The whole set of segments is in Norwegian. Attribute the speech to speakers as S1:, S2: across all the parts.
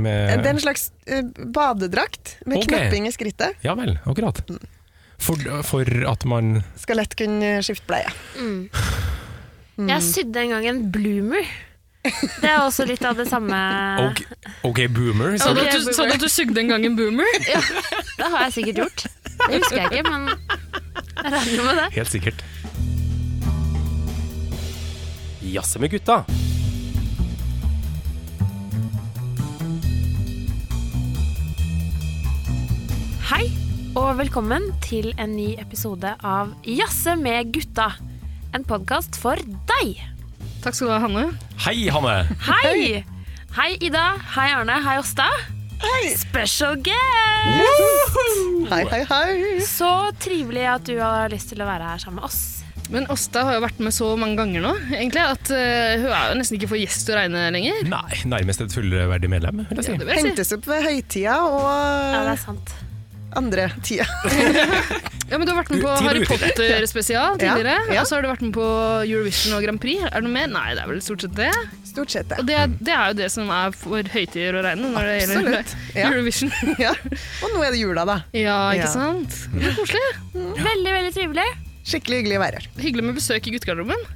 S1: Eh, Det
S2: Med
S1: er en slags eh, badedrakt med
S2: Ok.
S1: knapping i skrittet.
S2: Ja vel, akkurat. For, for at man
S1: Skal lett kunne skifte bleie.
S3: Jeg sydde en gang en bloomer. Det er også litt av det samme
S2: Ok, ok, boomer.
S4: Sånn
S2: Så,
S4: at du, sånn at du sugde en gang en boomer?
S3: Det har jeg sikkert gjort. Det husker jeg ikke, men jeg regner med det.
S2: helt sikkert. Jazze med gutta.
S3: Hei, og velkommen til en ny episode av Jazze med gutta. En podkast for deg.
S4: Takk skal du ha, Hanne.
S2: Hei, Hanne.
S3: Hei! Hei, Ida. Hei, Arne. Hei, Åsta.
S1: Hei.
S3: Special guest!
S1: Hei, hei, hei.
S3: Så trivelig at du har lyst til å være her sammen med oss.
S4: Men Åsta har jo vært med så mange ganger nå, egentlig, at eh, hun er jo nesten ikke for gjest å regne lenger.
S2: Nei, nærmest et fullverdig medlem, vil jeg si.
S4: Det vil jeg si.
S1: Hentes opp ved høytida
S3: Ja, det
S1: og eh,
S3: er sant.
S1: andre tida.
S4: Ja, men Du har vært med på
S2: Du- tid og
S4: Harry
S2: utide.
S4: Potter-spesial tidligere.
S1: ja.
S4: Og så har du vært med på Eurovision og Grand Prix. Er det noe mer? Nei, det er vel stort sett det.
S1: Stort sett det.
S4: Og det, er- det er jo det som er for høytider å regne når det gjelder
S1: Absolutt, ja.
S4: Eurovision.
S1: Ja. Og nå er det jula, da.
S4: Ja, ikke
S1: Ja.
S4: sant? Det er koselig.
S3: Veldig, veldig trivelig.
S1: Skikkelig hyggelig å være her.
S4: Hyggelig med besøk i guttegarderoben.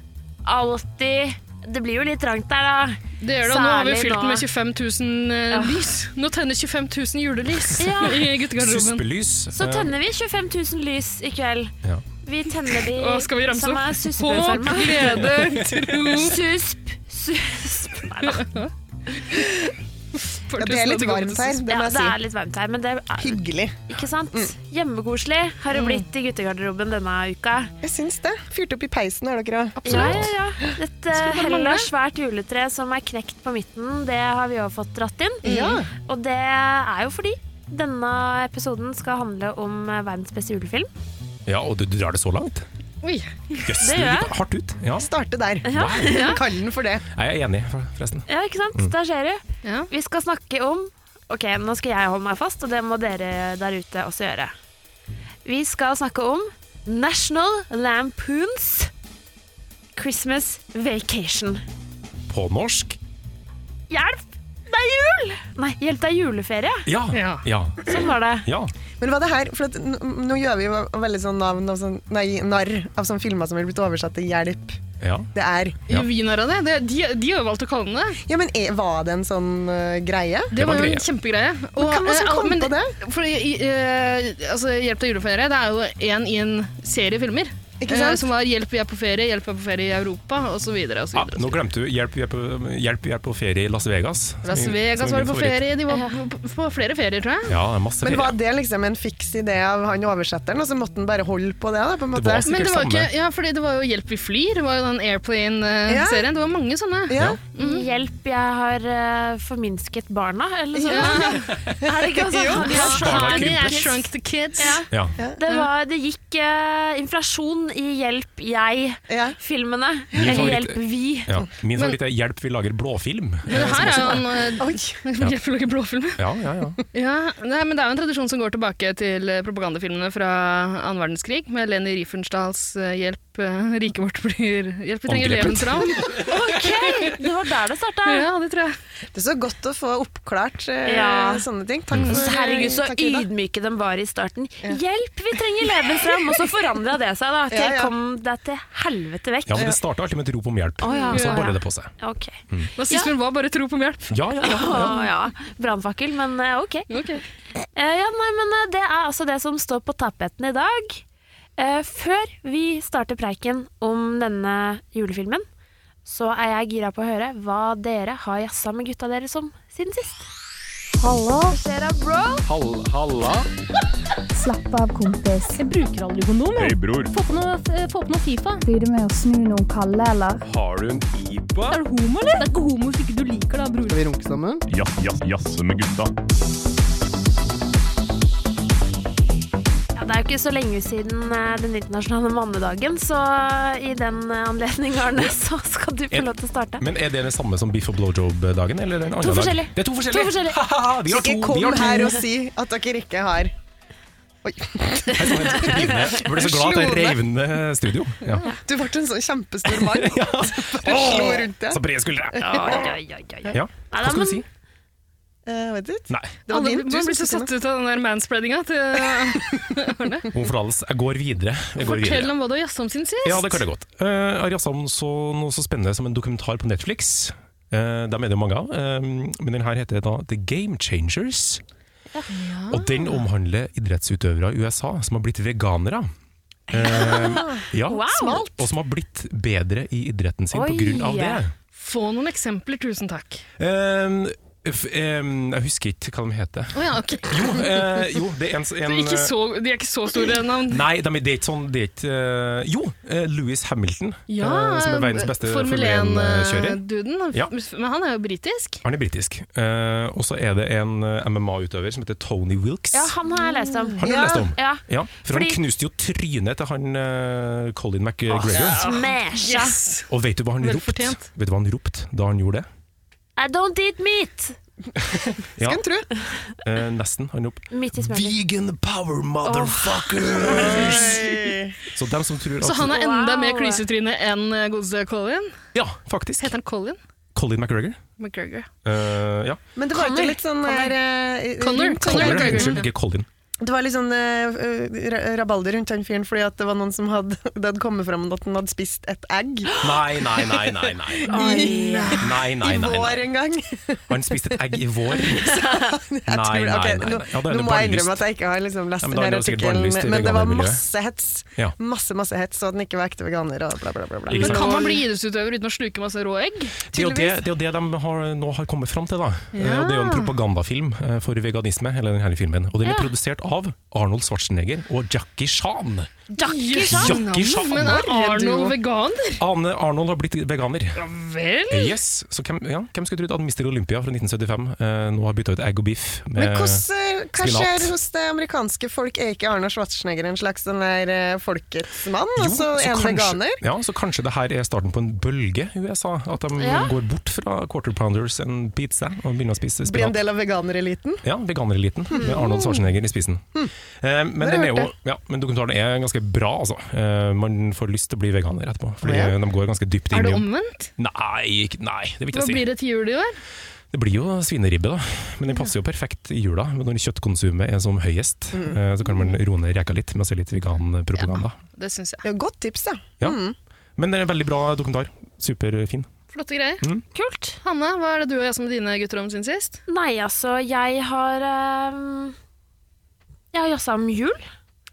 S3: Alltid. Det blir jo litt trangt der, da.
S4: Det gjør det, og nå har vi
S3: Særlig
S4: fylt
S3: da-
S4: den med 25 000 eh,
S1: Ah.
S3: Ja.
S4: lys. Nå tenner 25 000 julelys
S3: Ja.
S4: i guttegarderoben.
S2: Suspelys.
S3: Så
S2: eh,
S3: tenner vi 25 000 lys i kveld.
S2: Ja.
S3: Vi tenner de
S4: Å, skal vi ramse
S3: som
S4: opp?
S3: er
S4: Håp,
S3: suspeforma.
S4: glede, tro
S3: Susp, susp Nei da.
S1: Ja, det er litt varmt her, det
S3: Ja,
S1: må
S3: det
S1: jeg
S3: er litt varmt her, men det er
S1: si. Hyggelig.
S3: ikke sant? Hjemmekoselig har det blitt i guttegarderoben denne uka.
S1: Jeg syns det. Fyrte opp i peisen, har dere òg.
S3: Ja, ja, ja. Et eh, heller svært juletre som er knekt på midten, det har vi jo fått dratt inn.
S1: Ja.
S3: Og det er jo fordi denne episoden skal handle om eh, verdens beste julefilm.
S2: ja, og du, du drar det så langt?
S4: Oi,
S2: Jøss,
S3: Det
S2: du
S3: gjør
S2: gikk hardt ut. Ja.
S1: Starte der. Kall den for det.
S2: Jeg er enig, for- forresten.
S3: Ja, ikke sant?
S2: Mm.
S3: Der ser du.
S4: ja.
S3: Vi skal snakke om Ok, nå skal jeg holde meg fast, og det må dere der ute også gjøre. Vi skal snakke om National Lampoons Christmas Vacation.
S2: På norsk?
S3: Hjelp! Det er jul! Nei, hjelp, det er juleferie.
S2: Ja. Ja.
S4: Ja.
S2: ja.
S3: Sånn var det.
S1: Men hva er det her? For at, n- nå gjør vi jo veldig sånn navn av sånn, nei, narr av sånne filmer som er blitt oversatt til hjelp.
S2: ja.
S1: Det er
S2: Ja.
S4: Juvinara, det. det de, de har jo valgt å kalle den det.
S1: Ja, men er, var det en sånn eh, greie?
S4: Det var
S2: var
S4: jo en
S2: greia.
S4: kjempegreie. Og,
S1: Men hvem var det som
S4: eh, al-
S1: kom
S4: men-
S1: på det?
S4: Fordi, eh, altså, Hjelp til juleferie det er jo én i en serie filmer.
S1: Ikke
S4: Eh,
S1: sant?
S4: som var 'Hjelp, vi er på ferie', 'Hjelp, vi er på ferie i Europa', osv.
S2: Ja, Ah, nå glemte du 'Hjelp, vi er på- hjelp, vi er på ferie i Las Vegas'.
S4: Las
S2: Som-
S4: Vegas
S2: som
S4: var
S2: min
S4: det på
S2: favoritt.
S4: ferie. De var på, på, på flere ferier, tror jeg.
S2: Ja, det er masse
S1: Men
S2: ferie.
S1: var det liksom en fiks idé av han oversetteren, og så måtte han bare holde på det? da, på en måte?
S2: var-
S4: Men
S2: sikkert
S4: det var,
S2: samme.
S4: ikke, ja, fordi det var jo 'Hjelp, vi flyr', det var jo den
S1: Ja.
S4: Airplane-serien. Det var mange sånne.
S1: Ja.
S2: Ja.
S3: Mm. Hjelp, jeg har eh, forminsket barna, eller sånn. Er det ikke sånn?
S2: Jo. Barna
S4: Honey, I
S2: krympet.
S4: shrunk the kids.
S3: Ja.
S2: Ja.
S3: Det, var, det gikk eh, inflasjon i Hjelp,
S1: Ja.
S3: jeg-filmene.
S2: Min
S3: Eller
S2: favoritt-
S3: Hjelp, vi.
S2: Ja. Min favoritt er 'Hjelp, vi lager blåfilm'.
S4: Men det her er jo en
S1: Oi.
S4: eh, Hjelp å lage blåfilmer.
S2: Ja, ja, ja.
S4: Ja, nei, men det er jo en tradisjon som går tilbake til eh, propagandafilmene fra annen verdenskrig, med Leni Riefenstahls eh, 'Hjelp, eh, riket vårt blir Hjelp, vi trenger
S2: Angrepet.
S4: levens ravn'.
S3: Ok, det var der det starta.
S4: Ja, det tror jeg.
S1: Det er så godt å få oppklart eh,
S3: Ja.
S1: sånne ting. Takk
S2: Mm.
S1: for
S3: Herregud, så
S1: takk, Ida.
S3: ydmyke de var i starten. Hjelp, vi trenger levensram! Og så forandra det seg, da. Til
S1: Ja, ja.
S3: kom deg til helvete vekk.
S2: ja, men det starta alltid med et rop om hjelp,
S3: Å, ja.
S2: og så
S3: Ja.
S2: bare det Mm. på seg.
S3: Ok.
S4: Nazismen var bare tro på hjelp.
S2: Ja, ja, ja.
S3: Å ja. Brannfakkel, men eh, ok. Eh, ja, nei, men eh, det er altså det som står på tapeten i dag. Eh, før vi starter preiken om denne julefilmen, så er jeg gira på å høre hva dere har jazza med gutta deres om siden sist. Hallo. Hva skjer da, bro?
S2: halla.
S5: Slapp av, kompis.
S2: Hei, bror.
S5: Blir du med å snu noen kalde, eller?
S2: Har du en rumpa.
S6: Er du homo, eller? Det er ikke homo hvis ikke du liker det, bror.
S7: Skal vi runke sammen?
S8: Jazz, jazz, jazze med gutta.
S3: Ja, det er jo ikke så lenge siden eh, den internasjonale mannedagen, så i den eh, anledning, Arne, så skal du få
S2: En-
S3: lov til å starte.
S2: Men er det det samme som biff og blowjob-dagen? eller er det en annen
S3: To
S2: dag?
S3: forskjellige.
S2: Det er to forskjellige.
S3: To forskjellige.
S2: Ha-ha, vi har to.
S1: Ikke
S2: vi
S1: kom
S2: har to.
S1: her og si at dere ikke har
S2: Jeg så helt riv ned. Jeg ble så glad at jeg rev ned studio. Ja.
S1: Du ble en sånn kjempestor mann. Bare slo rundt
S2: Så
S1: deg.
S2: brede skuldre.
S3: Oi, oi, oi, oi.
S2: Ja.
S3: Nei,
S2: Hva
S3: men-
S2: skal du si?
S1: Eh, vet du? ikke?
S2: Nei.
S1: Det var
S4: Alle
S1: din. Du
S4: man
S1: som
S4: blir så
S1: skulle
S4: satt
S1: si noe.
S4: ut av den der manspreadinga til
S2: Hvorfor alles? Jeg går videre. Jeg går videre.
S4: Fortell om hva du har jazza om siden sist.
S2: Ja, det kan jeg godt. Uh, Arja så noe så spennende som en dokumentar på Netflix. Eh, dem er det jo mange av. eh, men den her heter da The Game Changers. Og den omhandler idrettsutøvere i USA som har blitt veganere. Eh, ja,
S3: Smalt.
S2: Og som har blitt bedre i idretten sin
S3: Oi.
S2: pga. det.
S4: Få noen eksempler, tusen takk.
S2: Eh, f, eh, jeg husker ikke hva de heter.
S4: Å ja, ok.
S2: Jo, eh, jo det er en, en
S4: Ikke så, de er ikke så store navn.
S2: Nei, de, det er ikke sånn det er ikke, eh, Jo, eh, Lewis Hamilton,
S4: Ja,
S2: eh, som er verdens beste
S4: Formel eh,
S2: Formel 1-kjører.
S4: 1-duden.
S2: Ja.
S4: Men han er jo britisk.
S2: Han er britisk. Eh, og så er det en eh, MMA-utøver som heter Tony Wilkes.
S3: Ja, han har jeg lest om.
S2: Har du lest om?
S3: Ja.
S2: Ja, for
S3: Fordi-
S2: han knuste jo trynet til han eh, Colin
S4: Ah,
S2: McGregor.
S3: Smash!
S4: Yes!
S2: Og vet du hva han ropte?
S4: Velfortjent.
S2: Vet du hva han ropte da han gjorde det?
S3: I don't eat meat!
S2: Ja,
S1: Skulle en tro.
S2: eh, nesten. Han ropte
S3: Midt i smøret.
S2: Vegan power, motherfuckers! Så dem som tror at
S4: Så han er enda
S3: Wow.
S4: mer klysetryne enn eh, godeste Colin.
S2: Ja, faktisk.
S4: Heter han Colin?
S2: Colin McGregor.
S4: McGregor.
S2: Eh, ja.
S1: Men det var
S3: Connor.
S1: ikke litt sånn der eh,
S4: Connor.
S1: rundt-
S4: Colin
S2: Colin,
S4: McGregor.
S2: unnskyld, ikke Colin.
S1: Det var litt sånn eh, ra- rabalder rundt han fyren fordi at det var noen som hadde Det hadde kommet fram at han hadde spist et egg
S2: Nei, nei, nei, nei. nei.
S1: i,
S2: Nei, nei,
S1: i
S2: nei,
S1: vår
S2: nei.
S1: en gang.
S2: Han spiste et egg i vår.
S1: Jeg
S2: Nei,
S1: tror det.
S2: nei,
S1: Ok,
S2: nei,
S1: nå-
S2: nei. Ja, da er
S1: Nå
S2: det
S1: må jeg
S2: barnelyst.
S1: innrømme at jeg ikke har liksom lest
S2: Ja, men
S1: den
S2: da er
S1: her
S2: det sikkert
S1: artikkelen,
S2: barnelyst i
S1: men det var
S2: veganermiljøet.
S1: masse hets.
S2: Ja.
S1: Masse, masse hets, og at den ikke var ekte veganer og bla, bla, bla. bla.
S2: Ikke
S4: Men
S2: sant?
S4: kan man bli idrettsutøver uten å sluke masse rå egg?
S2: Det er jo det, det, er jo det de har, nå har kommet fram til. Da. Eh, og Det er jo en propagandafilm eh, for veganisme, eller denne filmen. Og den er produsert av Arnold Schwarzenegger og Jackie Chan.
S4: Jackie
S2: Chan. Jackie Chan.
S4: Men er Arnold veganer?
S2: Ane Arnold har blitt veganer.
S4: Ja vel?
S2: Yes, så hvem, ja, hvem skulle trodd at Mister Olympia fra 1975 eh, nå har bytta ut egg og biff med
S1: Men hvordan, eh, hva
S2: spinat.
S1: skjer hos det amerikanske folk? Er ikke Arne Schwarzenegger en slags sånn der eh, folkets mann, og så er han
S2: kanskje-
S1: veganer?
S2: Ja, så kanskje det her er starten på en bølge i USA. At de
S3: Ja.
S2: går bort fra quarter pounders and pizza og begynner å spise
S1: Blir
S2: spinat.
S1: en del av veganereliten?
S2: Ja, veganereliten, med Arnold Schwarzenegger i spissen. Eh, men,
S1: har
S2: den er
S1: jeg
S2: jo, ja, men dokumentaren er ganske bra, altså. Eh, man får lyst til å bli veganer etterpå, fordi
S1: Ja.
S2: de går ganske dypt
S4: Er
S2: inn
S4: det
S2: i
S4: omvendt?
S2: Nei, ikke- nei, det vil ikke
S4: Hva
S2: jeg si.
S4: blir det til jul i år?
S2: Det blir jo svineribbe, da. Men den passer jo perfekt i jula, men når kjøttkonsumet er som høyest. eh, Så kan man roe ned reka litt med å se litt veganpropaganda.
S4: Det syns jeg.
S1: Ja, godt tips, da.
S2: Ja. Men det er en veldig bra dokumentar. Superfin.
S4: Flotte greier.
S3: Kult.
S4: Hanne, hva er det du og jeg som er dine gutter om siden sist?
S3: Nei, altså, jeg har ehm, Jeg har jazza om jul.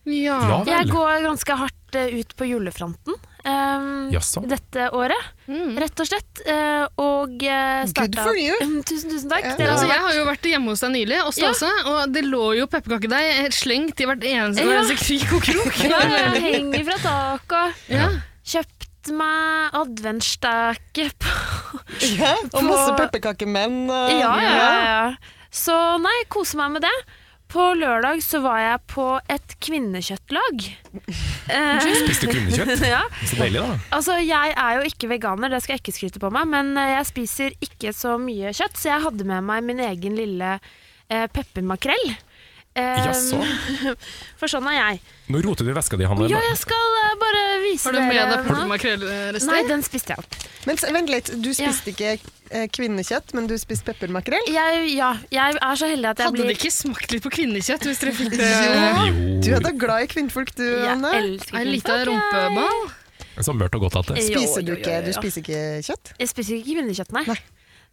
S2: Ja
S3: Jeg
S2: vel.
S3: går ganske hardt eh, ut på julefronten ehm,
S2: Jaså.
S3: dette året,
S4: Mm.
S3: rett og slett. eh, og eh, starta
S1: Good for you!
S3: Mm, Tusen, tusen takk.
S1: Ja.
S3: Dere
S4: Altså,
S3: har
S4: jeg har jo vært hjemme hos deg nylig, og
S3: Ja.
S4: Stase, og det lå jo pepperkakedeig slengt i hvert eneste, hver
S3: Ja.
S4: eneste krik og krok.
S3: vært- Ja, jeg henger fra taket.
S4: Ja.
S3: Kjøpt meg adventsstake på
S1: Ja, og masse
S3: På-
S1: pepperkakemenn. eh, og-
S3: Ja, ja, ja, ja. Så nei, kose meg med det. På lørdag så var jeg på et kvinnekjøttlag. Eh,
S2: Spiste kvinnekjøtt.
S3: ja.
S2: Så deilig, da.
S3: Altså, jeg er jo ikke veganer, det skal jeg ikke skryte på meg, men eh, jeg spiser ikke så mye kjøtt, så jeg hadde med meg min egen lille eh, peppermakrell. Eh,
S2: Jaså.
S3: For sånn er jeg.
S2: Nå roter du i veska di, Hanne.
S3: Ja, jeg skal eh, bare vise
S4: Har du med deg
S3: dere Nei,
S4: pølsemakrellrester?
S3: den spiste jeg opp.
S1: Men s- vent litt, du spiste ikke eh, kvinnekjøtt, men du spiste peppermakrell?
S3: Jeg, ja, jeg er så heldig at jeg
S4: Hadde det
S3: blir
S4: ikke smakt litt på kvinnekjøtt hvis dere fikk det?
S1: Jo. Du er
S2: Jo,
S1: da glad i kvinnfolk, du,
S3: Jeg
S1: Anne?
S3: elsker
S4: Ei
S3: kvinnfolk,
S4: lita
S3: jeg.
S4: rumpeball?
S2: så mørt og godt at det.
S3: Jo,
S1: Spiser du
S3: jo, jo,
S1: ikke,
S3: jo,
S1: du
S3: jo.
S1: spiser ikke kjøtt?
S3: Jeg spiser ikke kvinnekjøtt, nei.
S1: Nei.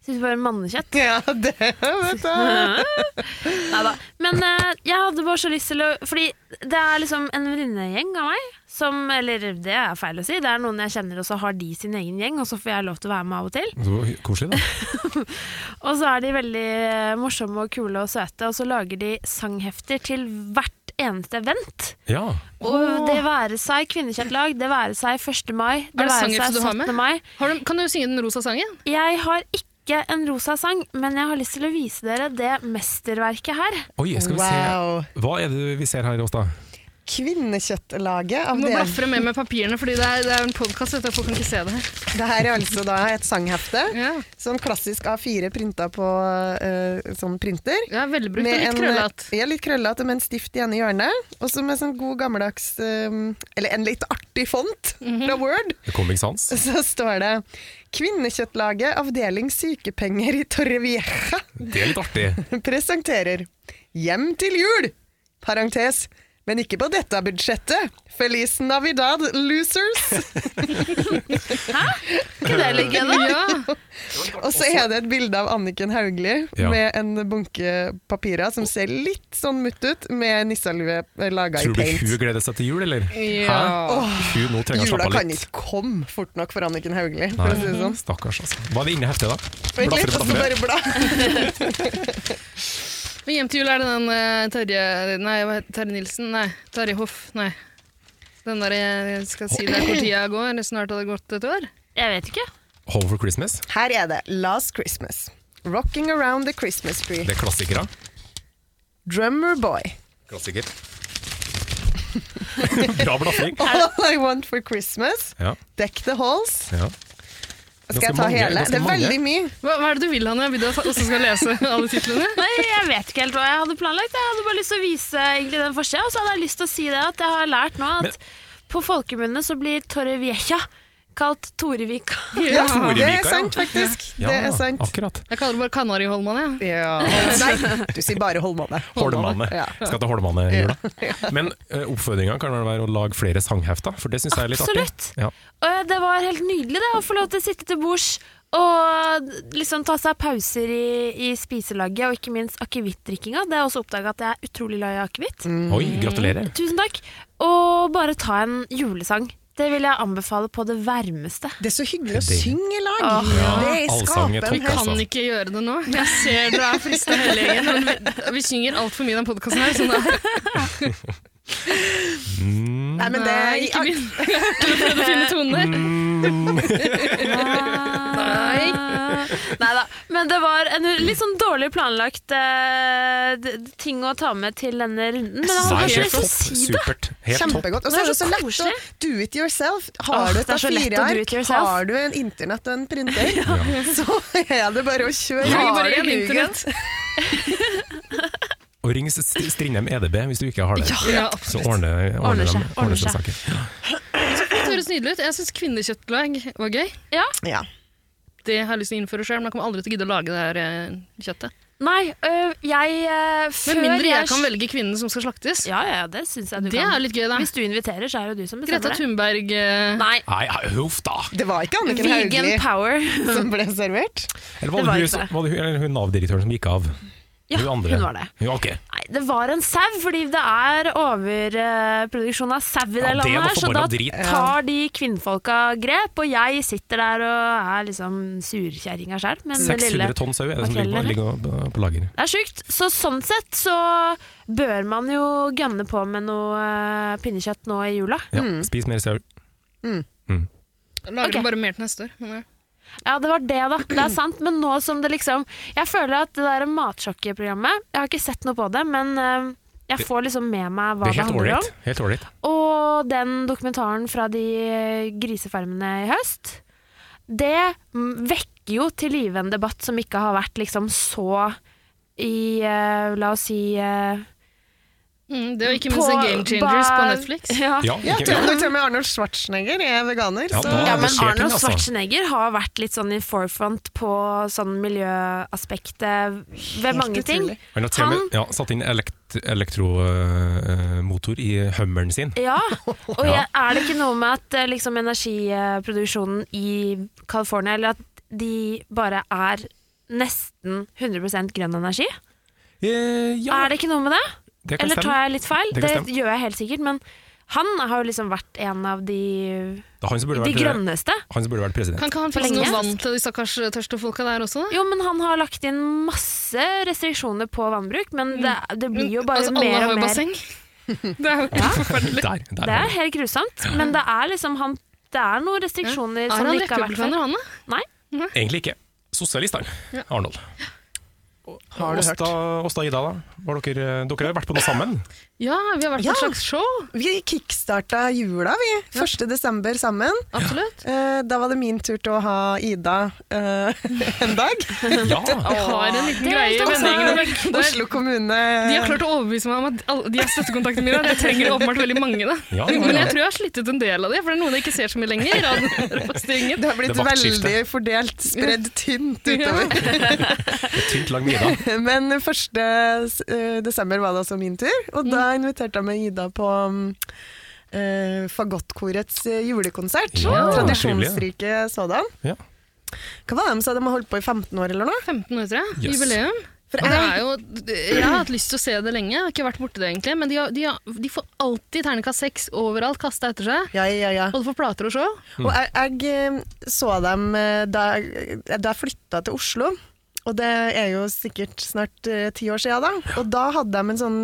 S3: Jeg spiser bare mannekjøtt.
S1: Ja, det vet jeg.
S3: Neida. Men eh, jeg hadde bare så lyst til å Fordi det er liksom en venninnegjeng av meg som Eller det er feil å si. Det er noen jeg kjenner, og så har de sin egen gjeng, og så får jeg lov til å være med av og til.
S2: Så koselig, da.
S3: Og så er de veldig eh, morsomme og kule og søte, og så lager de sanghefter til hvert eneste event.
S2: Ja.
S3: Og det være seg kvinnekjøttlag, det være seg 1. mai, det,
S4: det
S3: være
S4: sanger
S3: seg
S4: du har med?
S3: 17. mai.
S4: Har du, kan du synge den rosa sangen?
S3: Jeg har ikke en rosa sang, men jeg har lyst til å vise dere det mesterverket her.
S2: Oi, skal vi
S1: Wow.
S2: se. Hva er det vi ser her, Åsta?
S1: Kvinnekjøttlaget
S4: Du
S1: av
S4: må
S1: det.
S4: blafre med med papirene, fordi det er, det er en podkast. Folk kan ikke se det her.
S1: Det her er altså da et sanghefte.
S4: Ja.
S1: Sånn klassisk A4 printa på eh, sånn printer.
S4: Ja, Velbrukt og
S1: en,
S4: litt
S1: eh,
S4: krøllete.
S1: Ja, litt krøllete, med en stift i ene hjørnet. Og så med sånn god gammeldags eh, Eller en litt artig font
S4: Mhm.
S1: fra Word.
S2: Comic Sans?
S1: Så står det 'Kvinnekjøttlaget, avdeling sykepenger i Torrevieja'
S2: Det er litt artig.
S1: presenterer Hjem til jul! Parentes. Men ikke på dette budsjettet. Feliz Navidad, losers!
S3: Ikke det litt gøy, da?
S4: Ja.
S1: Og så er det et bilde av Anniken Hauglie
S2: Ja.
S1: med en bunke papirer som ser litt sånn mutt ut, med nisselue laga i
S2: Tror du hun
S1: paint.
S2: gleder seg til jul, eller?
S4: Ja.
S2: Hæ? Hun nå trenger å
S1: Jula
S2: slappe av
S1: kan
S2: litt.
S1: ikke komme fort nok for Anniken Hauglie, for å si det
S2: Nei,
S1: sånn.
S2: stakkars, altså. Hva er det inne i heftet, da?
S1: Vent
S2: Blafre,
S1: litt, sånn og så
S2: blafre.
S1: bare bla.
S4: Men Hjem til jul er det den eh, Terje Nei, hva heter Terje Nilsen? Nei, Terje Hoff. Nei. Den der eh, jeg skal si deg hvor tida går. Snart har det gått et år.
S3: Jeg vet ikke.
S2: Home for Christmas?
S1: Her er det Last Christmas. Rocking around the Christmas tree.
S2: Det er klassikere.
S1: Drummer boy.
S2: Klassiker. Bra blafring.
S1: All I want for Christmas.
S2: Ja,
S1: Deck the halls.
S2: ja.
S1: Skal jeg
S2: Ganske
S1: ta
S2: mange,
S1: hele?
S2: ganske
S1: Det er
S2: mange.
S1: veldig mye.
S4: Hva, hva er det du vil, Hanne? Jeg vil du også skal lese alle titlene?
S3: Nei, jeg vet ikke helt hva jeg hadde planlagt. Jeg hadde bare lyst til å vise egentlig den forsida, og så hadde jeg lyst til å si det at jeg har lært nå at
S2: Men-
S3: på folkemunne så blir Torrevieja kalt Torevika.
S1: Ja,
S2: Torevika,
S1: det
S2: ja.
S1: er sant, faktisk.
S2: Ja,
S1: det er sant.
S2: Akkurat.
S4: Jeg kaller det bare Kanariholman, jeg.
S1: Ja. Nei, du sier bare Holmåne.
S2: Holmane.
S1: Ja.
S2: Skal til Holmane i jula. Men uh, oppfordringa kan vel være å lage flere sanghefter, for det syns jeg er litt
S3: Absolutt.
S2: artig. Ja.
S3: Og det var helt nydelig det, å få lov til å sitte til bords og liksom ta seg pauser i, i spiselaget, og ikke minst akevittdrikkinga. Det har jeg også oppdaga at jeg er utrolig glad i akevitt.
S2: Oi, gratulerer.
S3: Tusen takk. Og bare ta en julesang. Det vil jeg anbefale på det varmeste.
S1: Det er så hyggelig å
S2: Det-
S1: synge i lag.
S3: Åh,
S2: ja.
S1: Det
S2: Allsang er altså. topp,
S1: skaper en
S4: Jeg
S1: helt
S4: kan ikke gjøre det nå. Jeg ser dere er frista hele gjengen. Men vi, vi synger altfor mye i den podkasten her. Sånn er
S1: Nei, men det
S4: Nei, ikke begynn. Prøv å finne toner.
S3: Nei. Nei da. Men det var en litt sånn dårlig planlagt eh, d- d- ting å ta med til denne runden. Men det
S2: Nei,
S3: var
S2: helt
S3: kanskje
S2: topp.
S3: si det.
S2: Supert. Helt topp.
S1: Kjempegodt. Og så er det så lett å do it yourself. Har
S3: Åh,
S1: du
S3: det
S1: et
S3: er så lett å do it
S1: A4-ark,
S3: yourself.
S1: har du en internett og en printer, så er det bare å kjøre.
S4: Trenger
S1: Har
S4: bare
S1: du
S4: en
S1: Google?
S4: internett.
S2: Og ring St- Strindheim EDB hvis du ikke har det.
S4: Ja,
S2: Så ordner,
S3: Ordner
S2: ordner,
S3: seg,
S2: dem- ordner
S3: ordner
S2: seg
S3: seg.
S2: saken.
S4: Det høres nydelig ut. Jeg syns kvinnekjøttlag var gøy.
S3: Ja.
S1: Ja.
S4: Det har jeg lyst til å innføre sjøl, men jeg kommer aldri til å gidde å lage det her eh, kjøttet.
S3: Nei, øh, jeg øh, Før
S4: Med mindre jeg kan
S3: sl-
S4: velge kvinnen som skal slaktes.
S3: Ja, ja, det syns jeg du
S4: Det
S3: kan.
S4: er litt gøy, da.
S3: Hvis du inviterer, så er det du som bestemmer
S4: Greta
S3: det.
S4: Thunberg eh,
S3: Nei.
S2: Nei, nei, huff da!
S1: Det var ikke Anniken
S3: Vegan
S1: Hauglie
S3: power.
S1: som ble servert.
S2: Eller
S3: Det var
S2: var det,
S3: ikke
S2: hun,
S3: det.
S2: var det hun, eller hun Nav-direktøren som gikk av?
S3: Ja,
S2: hun andre.
S3: hun var det.
S2: Ja, ok.
S3: Nei, det var en sau, fordi det er overproduksjon av sau i det
S2: Ja, det
S3: landet
S2: var
S3: her, så
S2: forbanna
S3: da
S2: drit.
S3: tar de kvinnfolka grep, og jeg sitter der og er liksom surkjerringa sjøl. Men det lille
S2: 600 tonn sau er det som ligger på,
S3: makrellen,
S2: ligger på- på lager.
S3: Det er sjukt. Så sånn sett så bør man jo gønne på med noe eh, pinnekjøtt nå i jula.
S2: Ja, Spis mer sau.
S4: lager
S3: Ok.
S4: det bare mer til neste år. Men, ja.
S3: Ja, det var det, da. Det er sant. Men nå som det liksom Jeg føler at det der matsjokkeprogrammet Jeg har ikke sett noe på det, men eh, jeg får liksom med meg hva
S2: Det
S3: det,
S2: er helt
S3: handler
S2: ålreit. Helt ålreit.
S3: om. Og den dokumentaren fra de eh, grisefarmene i høst, det mm, vekker jo til live en debatt som ikke har vært liksom så i eh, La oss si eh,
S4: Mm, det og ikke minst en Game Changers
S3: ba-
S4: på Netflix.
S3: Ah, Ja.
S2: Ja,
S1: Ja,
S2: ikke-
S1: til og med- til og med Arnold Schwarzenegger er veganer.
S2: Ja,
S1: så
S2: da-
S3: Ja,
S2: det
S3: men
S2: skjer ting,
S3: Arnold
S2: altså.
S3: Schwarzenegger har vært litt sånn i forefront på sånn miljøaspektet ved
S1: Helt
S3: mange ting.
S1: utrolig.
S2: Han har til og med
S3: Han-
S2: ja, satt inn elekt, elektromotor i eh, hummeren sin.
S3: Ja, og
S2: Ja.
S3: jeg, er det ikke noe med at eh, liksom, energiproduksjonen i California, eller at de bare er nesten 100 grønn energi?
S2: Eh, ja,
S3: Er det ikke noe med det?
S2: det kan
S3: Eller tar
S2: stemme.
S3: jeg litt feil?
S2: Det
S3: Det,
S2: kan stemme.
S3: gjør jeg helt sikkert, men han har jo liksom vært en av de,
S2: Det er han som burde
S3: de
S2: vært, eh,
S3: grønneste.
S2: han som burde vært president.
S4: Kan ikke han
S3: For
S4: fikse
S3: lenge.
S4: noe vann til de stakkars tørste folka der også? da?
S3: Jo, men han har lagt inn masse restriksjoner på vannbruk, men det, det blir jo
S4: Men,
S3: bare
S4: altså,
S3: mer
S4: alle har
S3: og
S4: jo
S3: mer
S4: basseng. Det er jo helt forferdelig.
S2: Der, der
S3: Det
S2: har
S3: er helt grusomt, men det er liksom han Det er noen restriksjoner
S4: Er
S3: som
S4: han
S3: det ikke har vært før.
S4: Republikaner, han da?
S2: vi. Egentlig ikke. Sosialisteren, Arnold.
S1: Har du hørt?
S2: Åsta, Åsta og Ida, da? Var dere, eh, dere har vært på noe sammen?
S4: Ja, vi har vært på
S1: Ja.
S4: et slags show.
S1: Vi kickstarta jula, vi. 1. desember sammen.
S4: Absolutt.
S1: Eh, da var det min tur til å ha Ida eh, en dag.
S2: Ja!
S4: Vi har en liten greie i
S3: helt
S4: vendingen. Der.
S1: Oslo kommune
S4: De har klart å overbevise meg om at alle- de er støttekontaktene mine. og Jeg trenger åpenbart veldig mange. da.
S2: Ja, ja,
S4: Men
S2: ja.
S4: jeg tror jeg har slittet en del av det, for det er noen jeg ikke ser så mye lenger. av den her posteringen.
S1: Det har blitt
S2: Det er vaktskifte.
S1: veldig fordelt, spredd tynt utover.
S2: Et tynt lag med Ida.
S1: Men 1. s- eh, desember var det altså min tur, og da inviterte jeg med Ida på mm, eh, Fagottkorets eh, julekonsert.
S2: Ja,
S1: Tradisjonsrike sådan.
S2: Ja.
S1: Hva var det de sa, de har holdt på i 15 år eller noe?
S4: 15 år, tror jeg.
S2: Yes.
S4: Jubileum.
S1: For
S4: Og det er jo, jeg har hatt lyst til å se det lenge, jeg har ikke vært borti det egentlig. Men de, har, de, har, de får alltid terningkast seks overalt kasta etter seg.
S1: Ja, ja, ja.
S4: Både for plater og show.
S1: Og jeg, jeg eh, så dem eh, da, jeg- da jeg flytta til Oslo. Og det er jo sikkert snart eh, ti år siden da. Og da hadde de en sånn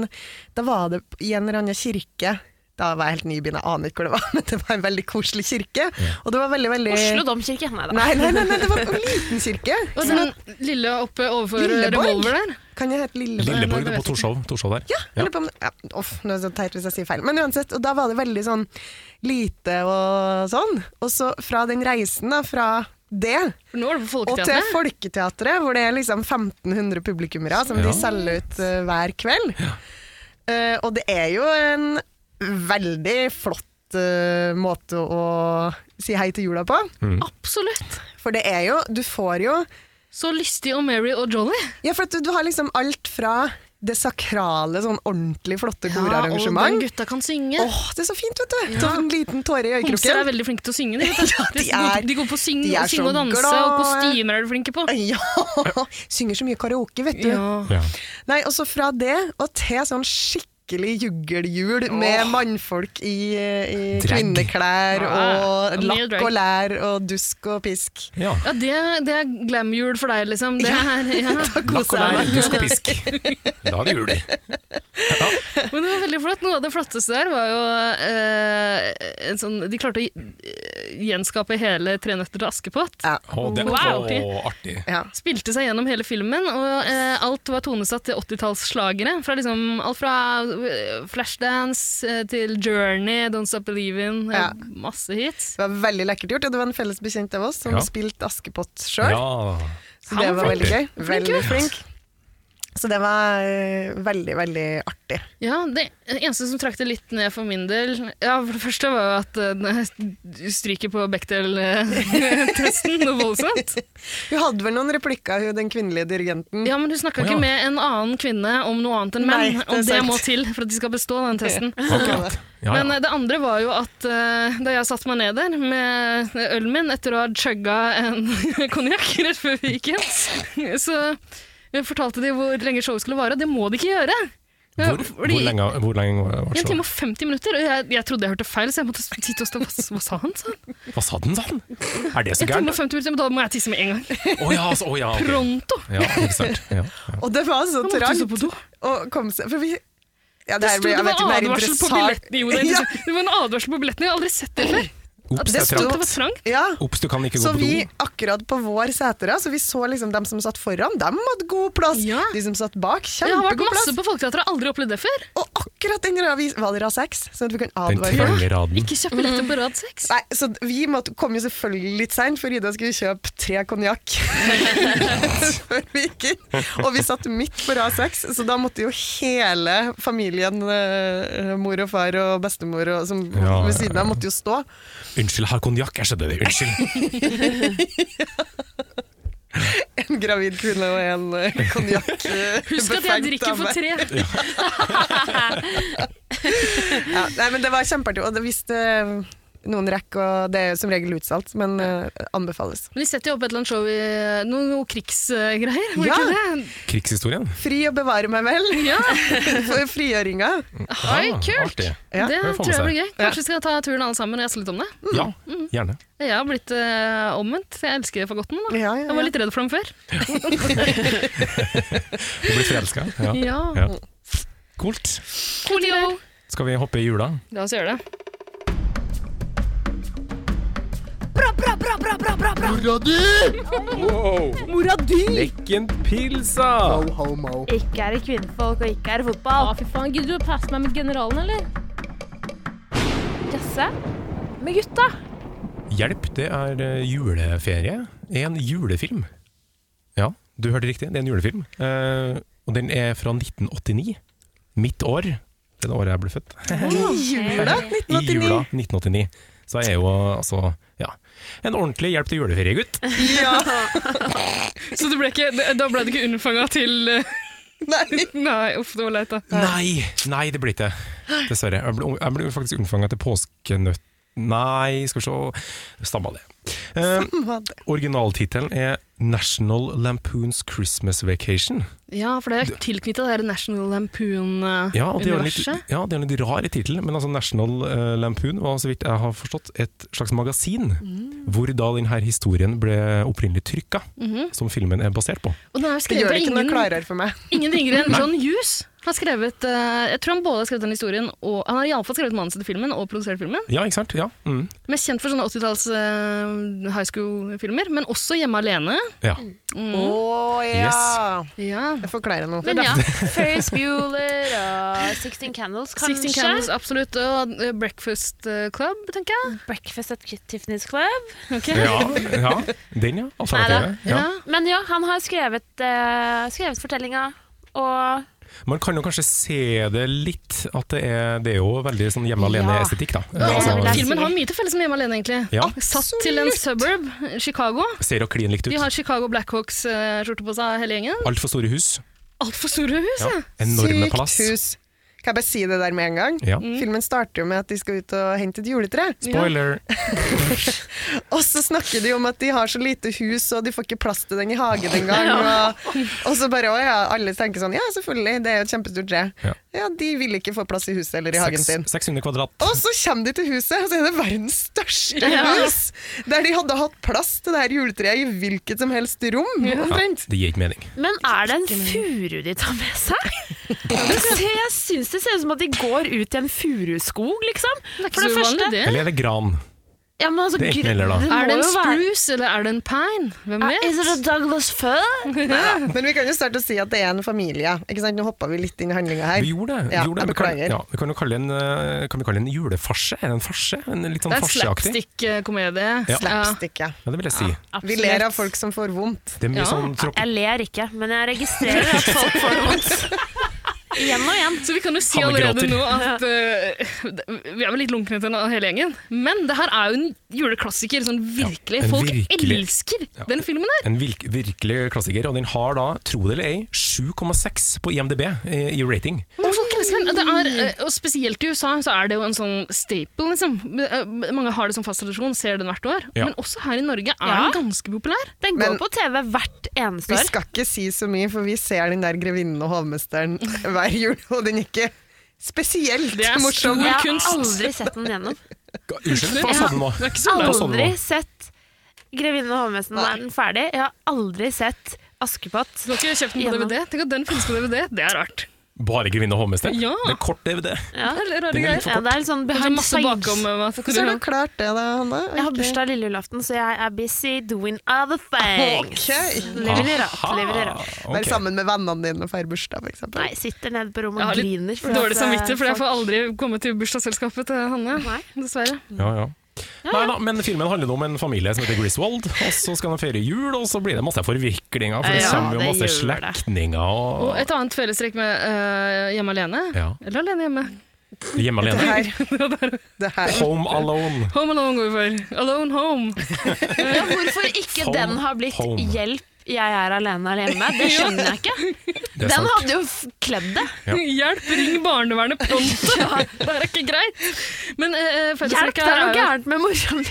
S1: Da var det i en eller annen kirke. Da var jeg helt nybegynner, jeg aner ikke hvor det var, men det var en veldig koselig kirke. Og det var veldig, veldig
S3: Oslo domkirke. Nei da.
S1: Nei, nei, nei, nei, det var en liten kirke.
S4: Og den lille oppe overfor
S1: Lilleborg?
S4: revolver der.
S1: Kan jeg hete Lilleborg?
S2: Lilleborg
S4: det
S2: på
S4: vet jeg
S2: Torshov. Torshov der.
S1: Ja, jeg lurer på om ja, Uff, nå er det så teit hvis jeg sier feil. Men uansett, og da var det veldig sånn lite og sånn. Og så fra den reisen, da, fra det
S4: For nå er det på
S1: Og til
S4: Folketeatret.
S1: Folketeatret, hvor det er liksom 1500 publikummere som
S2: Ja.
S1: de selger ut eh, hver kveld. Eh, og det er jo en veldig flott eh, måte å si hei til jula på.
S4: Mm. Absolutt.
S1: For det er jo Du får jo
S4: Så lystig og Mary og Jolly.
S1: Ja, for at du, du har liksom alt fra det sakrale, sånn ordentlig flotte
S4: og den
S1: korarrangement.
S4: gutta kan
S1: Åh,
S4: synge.
S1: det er så fint, vet du! Ta en liten tåre i
S4: Homser er
S1: øyekroken.
S4: veldig flinke til å synge. De, vet
S1: de
S4: du. de, går,
S1: er-
S4: de går på å synge,
S1: de er
S4: synge og
S1: så
S4: danse, og
S1: glade.
S4: kostymer er de flinke på.
S1: Ja! Synger så mye karaoke, vet du.
S4: Ja.
S2: Ja.
S1: Nei, og så fra det og til sånn skikkelig juggeljul med mannfolk i, i
S2: Drag.
S1: kvinneklær
S4: Ja,
S1: og
S4: mye
S1: lakk
S4: drag.
S1: og lær og dusk og pisk.
S2: Ja.
S4: Ja, det, det er glam-jul for deg, liksom. Det er, ja.
S2: Lakk og lær, dusk og pisk. Da er det jul. Ja.
S4: Men det var veldig flott. Noe av det flotteste der var jo eh, en sånn De klarte å eh, gjenskape hele 'Tre nøtter til Askepott'.
S2: Å, det er
S4: Wow.
S2: å, artig.
S1: Ja.
S4: Spilte seg gjennom hele filmen, og eh, alt var tonesatt til 80-tallsslagere. Fra liksom, alt fra eh, Flashdance eh, til Journey, Don't Stop Believin', eh,
S1: Ja.
S4: masse hits.
S1: Det var veldig lekkert gjort, og det var en felles bekjent av oss som
S2: Ja.
S1: spilte Askepott sjøl.
S2: Ja.
S1: Så det var veldig gøy.
S4: Flink
S1: Veldig flink. Så det var eh, veldig, veldig artig.
S4: Ja, Det eneste som trakk det litt ned for min del Ja, For det første var jo at eh, stryket på Bechdel-testen noe voldsomt.
S1: Hun hadde vel noen replikker, hun den kvinnelige dirigenten.
S4: Ja, men du snakka
S2: Å, ja.
S4: ikke med en annen kvinne om noe annet enn
S1: Nei,
S4: menn,
S1: det er
S4: og det
S1: sant.
S4: må til for at de skal bestå den testen.
S2: Akkurat. Ja,
S4: Men
S2: ja.
S4: eh, det andre var jo at eh, da jeg satte meg ned der med ølen min etter å ha chugga en konjakk rett før vi gikk inn, så fortalte de hvor lenge showet skulle vare. og Det må de ikke gjøre! Ja,
S2: Hvor,
S4: fordi-
S2: hvor lenge hvor lenge var
S4: En
S2: det?
S4: time og 50 minutter, og jeg, jeg trodde jeg hørte feil, så jeg måtte titte og stå Hva, hva sa han? sa han?
S2: Hva sa den, sa han? Er det så
S4: En time
S2: gærent?
S4: og 50 minutter, men da må jeg tisse med en gang.
S2: Å ja, altså, å, ja, ok.
S4: Pronto!
S2: ja, ikke sant. Ja, ja.
S1: Og det var så
S4: Han måtte jo så
S1: trangt
S4: på do.
S1: å komme seg For vi ja,
S4: Det,
S1: her
S4: sto,
S1: blir-
S4: det
S1: jeg vet
S4: var
S1: ikke om er
S4: advarsel på
S1: interessant.
S4: billetten. Jo, det, er
S1: Ja.
S4: interessant. det var en advarsel på billetten, jeg har aldri sett det før.
S2: Ops, det
S1: det
S2: er
S4: At
S1: sto-
S2: trangt.
S4: det var trangt.
S1: Ja,
S2: Ops, du kan ikke
S1: Så
S2: gå på
S1: vi
S2: do.
S1: akkurat på vår seter, så vi så liksom dem som satt foran, dem hadde god plass.
S4: Ja.
S1: De som satt bak,
S4: Jeg har vært
S1: kjempegod plass.
S4: masse på Folketeatret, har aldri opplevd det før.
S1: Og akkurat den røde vis- var det rad seks, sånn at vi kan
S2: Den
S1: advare folk.
S2: trange raden.
S4: Ikke kjappe billetter på rad seks.
S1: Nei, så vi måtte, kom jo selvfølgelig litt seint, for Ida skulle kjøpe tre konjakk før vi gikk inn. Og vi satt midt på rad seks, så da måtte jo hele familien, eh, mor og far og bestemor og, som
S2: Ja,
S1: ved siden av, måtte jo stå.
S2: Unnskyld, jeg har konjakk. Jeg skjønner det. Unnskyld.
S1: En gravid kvinne og en eh, konjakk. eh,
S4: Husk at jeg
S1: befengt
S4: drikker for
S1: dame.
S4: tre.
S1: Ja, nei, men det var kjempeartig. Og det, hvis det, noen rekker, og det er jo som regel utsolgt, men eh, anbefales.
S4: Men de setter jo opp et eller annet show i noe, noe krigsgreier. var det
S1: Ja.
S4: ikke det?
S2: Krigshistorien.
S1: Fri å bevare meg vel,
S4: Ja,
S1: for frigjøringa.
S4: Oi,
S2: Ah,
S4: kult!
S2: artig.
S1: Ja,
S4: det
S2: det får man
S4: tror jeg
S2: se.
S4: blir gøy. Kanskje vi skal ta turen alle sammen og jazze litt om det.
S2: Ja, gjerne.
S4: Jeg har blitt eh, omvendt. Jeg elsker fagotten. Da.
S1: Ja, ja,
S4: Jeg var
S1: ja.
S4: litt redd for dem før.
S2: Du blir forelska. Ja.
S4: Ja.
S2: Ja. Kult.
S4: Coolio.
S2: Skal vi hoppe i jula?
S4: La oss gjøre det.
S2: Wow!
S6: Mora di!
S2: Lekken pilsa!
S7: Ikke er det kvinnefolk, og ikke er det
S6: Å,
S7: fotball.
S6: fy faen. Gidder du å passe meg med generalen, eller?
S7: Jazze med gutta.
S2: Hjelp, det er eh, juleferie. En julefilm. Ja, du hørte riktig. Det er en julefilm. Eh, og den er fra 1989. Mitt år. Det er det året jeg ble født.
S1: Jula
S2: I jula
S1: 1989.
S2: 1989. Så jeg er jo altså ja, en ordentlig hjelp til juleferie, gutt.
S4: Så du ble ikke, da ble du ikke unnfanga til eh,
S1: Nei.
S4: Nei, uff, det var leit, da.
S2: Nei, nei, det blir ikke det. Dessverre. Jeg ble, jeg ble faktisk unnfanga til påskenøtt... Nei, skal vi se Stamma det. Eh,
S1: Hva det-
S2: Originaltittelen er National Lampoons Christmas Vacation.
S4: Ja, for det er tilknytta det her National eh,
S2: Ja, og det er jo en litt,
S4: Lampoon-universet.
S2: ja, det er en litt rar tittel, men altså National eh, Lampoon var, så vidt jeg har forstått, et slags magasin, hvor da denne historien ble opprinnelig trykka, som filmen er basert på.
S4: Mhm. Og den er
S1: Det
S4: jo
S1: gjør
S4: skrevet av
S1: det ikke noe
S4: ingen,
S1: klarere for meg.
S4: ingen ringere enn John Hughes. Han har skrevet, eh, jeg tror han både har skrevet den historien og Han har iallfall skrevet manuset til filmen og produsert filmen.
S2: Ja, ikke sant? Ja, mm.
S4: Mest kjent for sånne 80-talls eh, high school-filmer, men også Hjemme alene. Mm.
S2: ja.
S1: Å ja.
S4: Ja.
S1: Jeg forklarer noe.
S4: Men ja,
S7: Ferris Bueller og 16 Candles, kanskje.
S4: 16 Candles, absolutt. Og eh, Breakfast eh, Club, tenker jeg.
S7: Breakfast at Tiffany's Club.
S4: Ok.
S2: ja, ja. Den, ja. Alternativet. Ja.
S4: Ja.
S3: Men ja, han har skrevet, eh, skrevet fortellinga, og
S2: Man kan jo kanskje se det litt, at det er, det er jo veldig sånn hjemme alene-estetikk, da. Eh,
S7: det er
S2: Altså,
S4: Filmen har mye til felles med Hjemme alene, egentlig.
S2: Ja.
S4: Satt til en suburb, Chicago.
S2: ser jo klin likt ut.
S4: De har Chicago Blackhawks-skjorte på seg, hele gjengen.
S2: Altfor store hus.
S4: Altfor store hus,
S2: Ja.
S4: ja.
S2: Enorme
S1: Sykt
S2: palass.
S1: hus. Mm. Kan jeg bare si det der med en gang?
S2: Ja.
S4: Mm.
S1: Filmen starter jo med at de skal ut og hente et juletre.
S2: Spoiler!
S1: Og så snakker de om at de har så lite hus, og de får ikke plass til den i hagen engang. Og, og så bare, å ja, alle tenker sånn, ja selvfølgelig, det er jo et kjempestort tre.
S2: Ja.
S1: Ja. de vil ikke få plass i huset eller i hagen
S2: Seks-
S1: sin.
S2: 600 kvadrat.
S1: Og så kommer de til huset, og så er det verdens største hus! Der de hadde hatt plass til det her juletreet i hvilket som helst rom, omtrent.
S2: Det gir ikke mening.
S3: Men er det en furu de tar med seg? Se, jeg syns det ser ut som at de går ut i en furuskog, liksom. For det
S4: Så uvanlig,
S3: første
S4: det.
S2: Eller er det gran?
S3: ja, men altså,
S2: Det er ikke
S3: gr-
S2: heller, da.
S3: må
S4: Er det en
S3: jo være-
S4: spruce, eller er det en pine? Hvem
S3: Ah, Is
S4: vet?
S3: it a Douglas fir?
S1: Men vi kan jo starte å si at det er en familie. Ikke sant? Nå hoppa vi litt inn i handlinga her.
S2: Vi gjorde det.
S1: Ja,
S2: vi gjorde det.
S1: jeg
S2: Vi kan,
S1: beklager.
S2: ja, vi kan jo kalle det en, eh, kan vi kalle det en julefarse? Er det en farse? En litt sånn
S4: Det er en
S2: farseaktig?
S4: slapstick-komedie.
S2: Ja.
S1: Slapstick, ja.
S2: Ja, det vil jeg si.
S1: Vi ler av folk som får vondt.
S2: Det er mye
S4: Ja.
S2: sånn tråkk...
S3: Jeg ler ikke, men jeg registrerer at folk får det vondt. Igjen og igjen.
S4: Så vi kan jo si
S2: Hanne
S4: allerede
S2: gråter.
S4: nå at eh, det- vi er vel litt lunkne til hele gjengen. Men det her er jo en juleklassiker. Sånn virkelig.
S2: Ja, en
S4: Folk
S2: virkelig-
S4: elsker
S2: Ja.
S4: den filmen her.
S2: En virk, virkelig klassiker. Og den har da, tro det eller ei, 7,6 på IMDb eh, i, i rating.
S4: Og, folk elsker den. Det er, eh, og spesielt i USA så er det jo en sånn staple. Liksom. Eh, Mange har det som fast tradisjon, ser den hvert år.
S2: Ja.
S4: Men også her i Norge er
S3: Ja.
S4: den ganske populær.
S3: Den går
S1: Men-
S3: på TV hvert eneste
S1: Vi
S3: år.
S1: skal ikke si så mye, for vi ser den der grevinnen og hovmesteren hver jul, og den er ikke spesielt
S4: Det er
S1: morsom.
S4: stor
S3: Jeg har
S4: kunst.
S3: aldri sett den igjennom.
S2: Ga- Unnskyld, hva sa du nå?
S4: Det er ikke
S1: sånn
S4: så
S2: Hva
S4: lett.
S2: sa du nå?
S3: Aldri sett 'Grevinnen og hovmesteren' da er den ferdig. Jeg har aldri sett 'Askepott'.
S4: Du har ikke kjøpt den på
S3: Gjennom.
S4: DVD? Tenk at den finnes på DVD. Det er rart.
S2: Bare Grevinne og hovmester?
S4: Ja.
S2: Det er kort DVD.
S3: Ja.
S4: Det er rare
S2: Den er litt
S4: greier.
S2: for
S3: Ja,
S2: kort.
S3: det er litt sånn
S4: Det er
S3: behind the
S4: masse bakom. eh, hva-
S1: Hvordan har du klart det da, Hanne?
S3: Jeg har
S1: Ok.
S3: bursdag lille julaften, så jeg er busy doing other things.
S1: Ok.
S3: Lever i rart, lever i rart.
S2: Aha,
S1: Være
S2: ok.
S1: sammen med vennene dine og feire bursdag, for eksempel.
S3: Nei, sitter nede på rommet
S4: Jeg
S3: og
S4: har
S3: griner.
S4: litt dårlig
S3: at,
S4: samvittighet, for jeg
S3: eh,
S4: får aldri komme til bursdagsselskapet til Hanne.
S3: Nei.
S4: Dessverre.
S2: Ja, ja. Nei da, men filmen handler om en familie som heter Griswold, og så skal de feire jul, og så blir det masse forviklinger, for det
S3: Ja,
S2: kommer jo
S3: det
S2: masse
S3: gjør det.
S2: slektninger
S4: Og
S2: og
S4: et annet fellestrekk med eh, Hjemme alene.
S2: ja.
S4: Eller Alene hjemme.
S2: Hjemme
S1: Det
S2: alene.
S1: her. Det her.
S2: Home Alone.
S4: Home Alone går vi for. Alone Home.
S3: Ja, hvorfor ikke
S2: Home,
S3: den har blitt
S2: home.
S3: 'Hjelp, jeg er alene her hjemme'? Det skjønner jeg ikke.
S2: Det er
S3: Den
S2: sant.
S3: hadde jo f- kledd det.
S2: Ja.
S4: Hjelp, ring barnevernet pronto! Det her er ikke greit. Men eh,
S3: Hjelp,
S4: fellestrekket
S3: det er
S4: her
S3: noe
S4: er jo
S3: gærent med mora mi.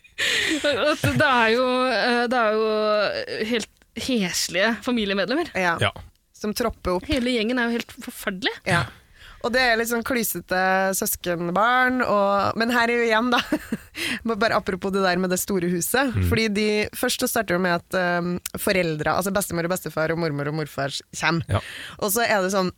S4: at det er jo, eh, det er jo eh, helt heslige familiemedlemmer.
S1: Ja.
S2: Ja.
S1: Som tropper opp.
S4: Hele gjengen er jo helt forferdelig.
S1: Ja. Og det er litt sånn klysete søskenbarn, og, men her er jo igjen, da. Må Bare apropos det der med det store huset. Fordi de, først så starter det med at um, foreldra, altså bestemor og bestefar og mormor og morfar, kommer.
S2: Ja.
S1: Og så er det sånn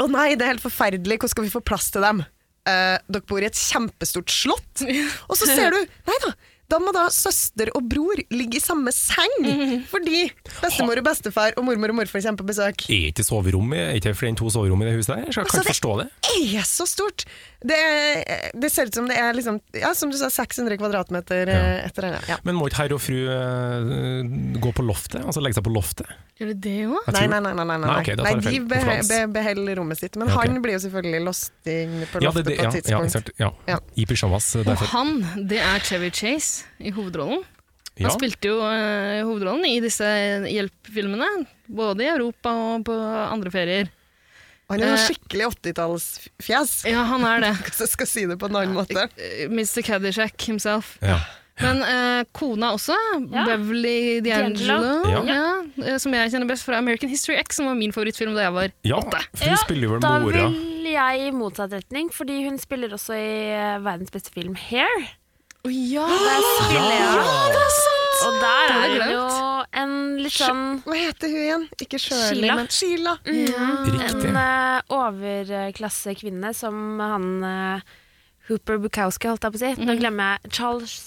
S1: Å nei, det er helt forferdelig, hvordan skal vi få plass til dem? Eh, dere bor i et kjempestort slott, og så ser du Nei da! Da må da søster og bror ligge i samme seng, fordi bestemor og bestefar og mormor og morfar kommer på besøk.
S2: Er ikke soverommet Er ikke flere enn to soverom i det huset der? Jeg skal- kan
S1: Altså,
S2: ikke forstå det.
S1: Det er så stort! Det, er, det ser ut som det er liksom, ja, som du sa, 600 kvadratmeter eh, et eller annet. Ja.
S2: Men må ikke herr og fru eh, gå på loftet? Altså legge seg på loftet?
S4: Gjør det det òg?
S2: Jeg
S1: Nei,
S2: tror-
S1: nei, nei. nei, nei,
S2: Nei, ok, da tar
S1: nei
S2: jeg
S1: De
S2: feil.
S1: be,
S2: Frans.
S1: be, beholder rommet sitt. Men
S2: Ja, ok.
S1: han blir jo selvfølgelig låst inn på loftet
S2: Ja, det, det, ja,
S1: på et
S2: ja, ikke
S1: tidspunkt.
S2: sant. Ja.
S1: Ja.
S2: I pysjamas eh,
S4: Og
S2: derfor.
S4: han, det er Chevy Chase i hovedrollen. Han
S2: Ja.
S4: spilte jo eh, hovedrollen i disse hjelpfilmene, både i Europa og på andre ferier.
S1: han er
S4: Eh,
S1: en skikkelig 80-tallsfjes,
S4: Ja, han er det.
S1: hvis jeg skal si det på en annen måte.
S4: Eh, Mr. Caddyshack himself.
S2: Ja.
S4: Men eh, kona også,
S7: Ja.
S4: Beverly D'Angelo,
S2: Ja.
S4: ja. eh, som jeg kjenner best fra American History X, som var min favorittfilm da jeg var
S2: ja,
S4: åtte.
S2: for hun spiller jo vel
S3: Da
S2: mora.
S3: vil jeg i motsatt retning, fordi hun spiller også i eh, verdens beste film Hair.
S4: ja,
S2: Ja!
S3: Og der
S4: Det hadde
S3: er
S4: jeg
S3: hun jo en litt sånn
S1: Hva heter hun igjen? Ikke Shirley,
S3: Sheila.
S1: men Sheila.
S4: Mm,
S2: Riktig.
S3: En eh, overklassekvinne som han eh, Hooper Bukowski, holdt jeg på å si.
S2: Mhm.
S3: Nå glemmer jeg Charles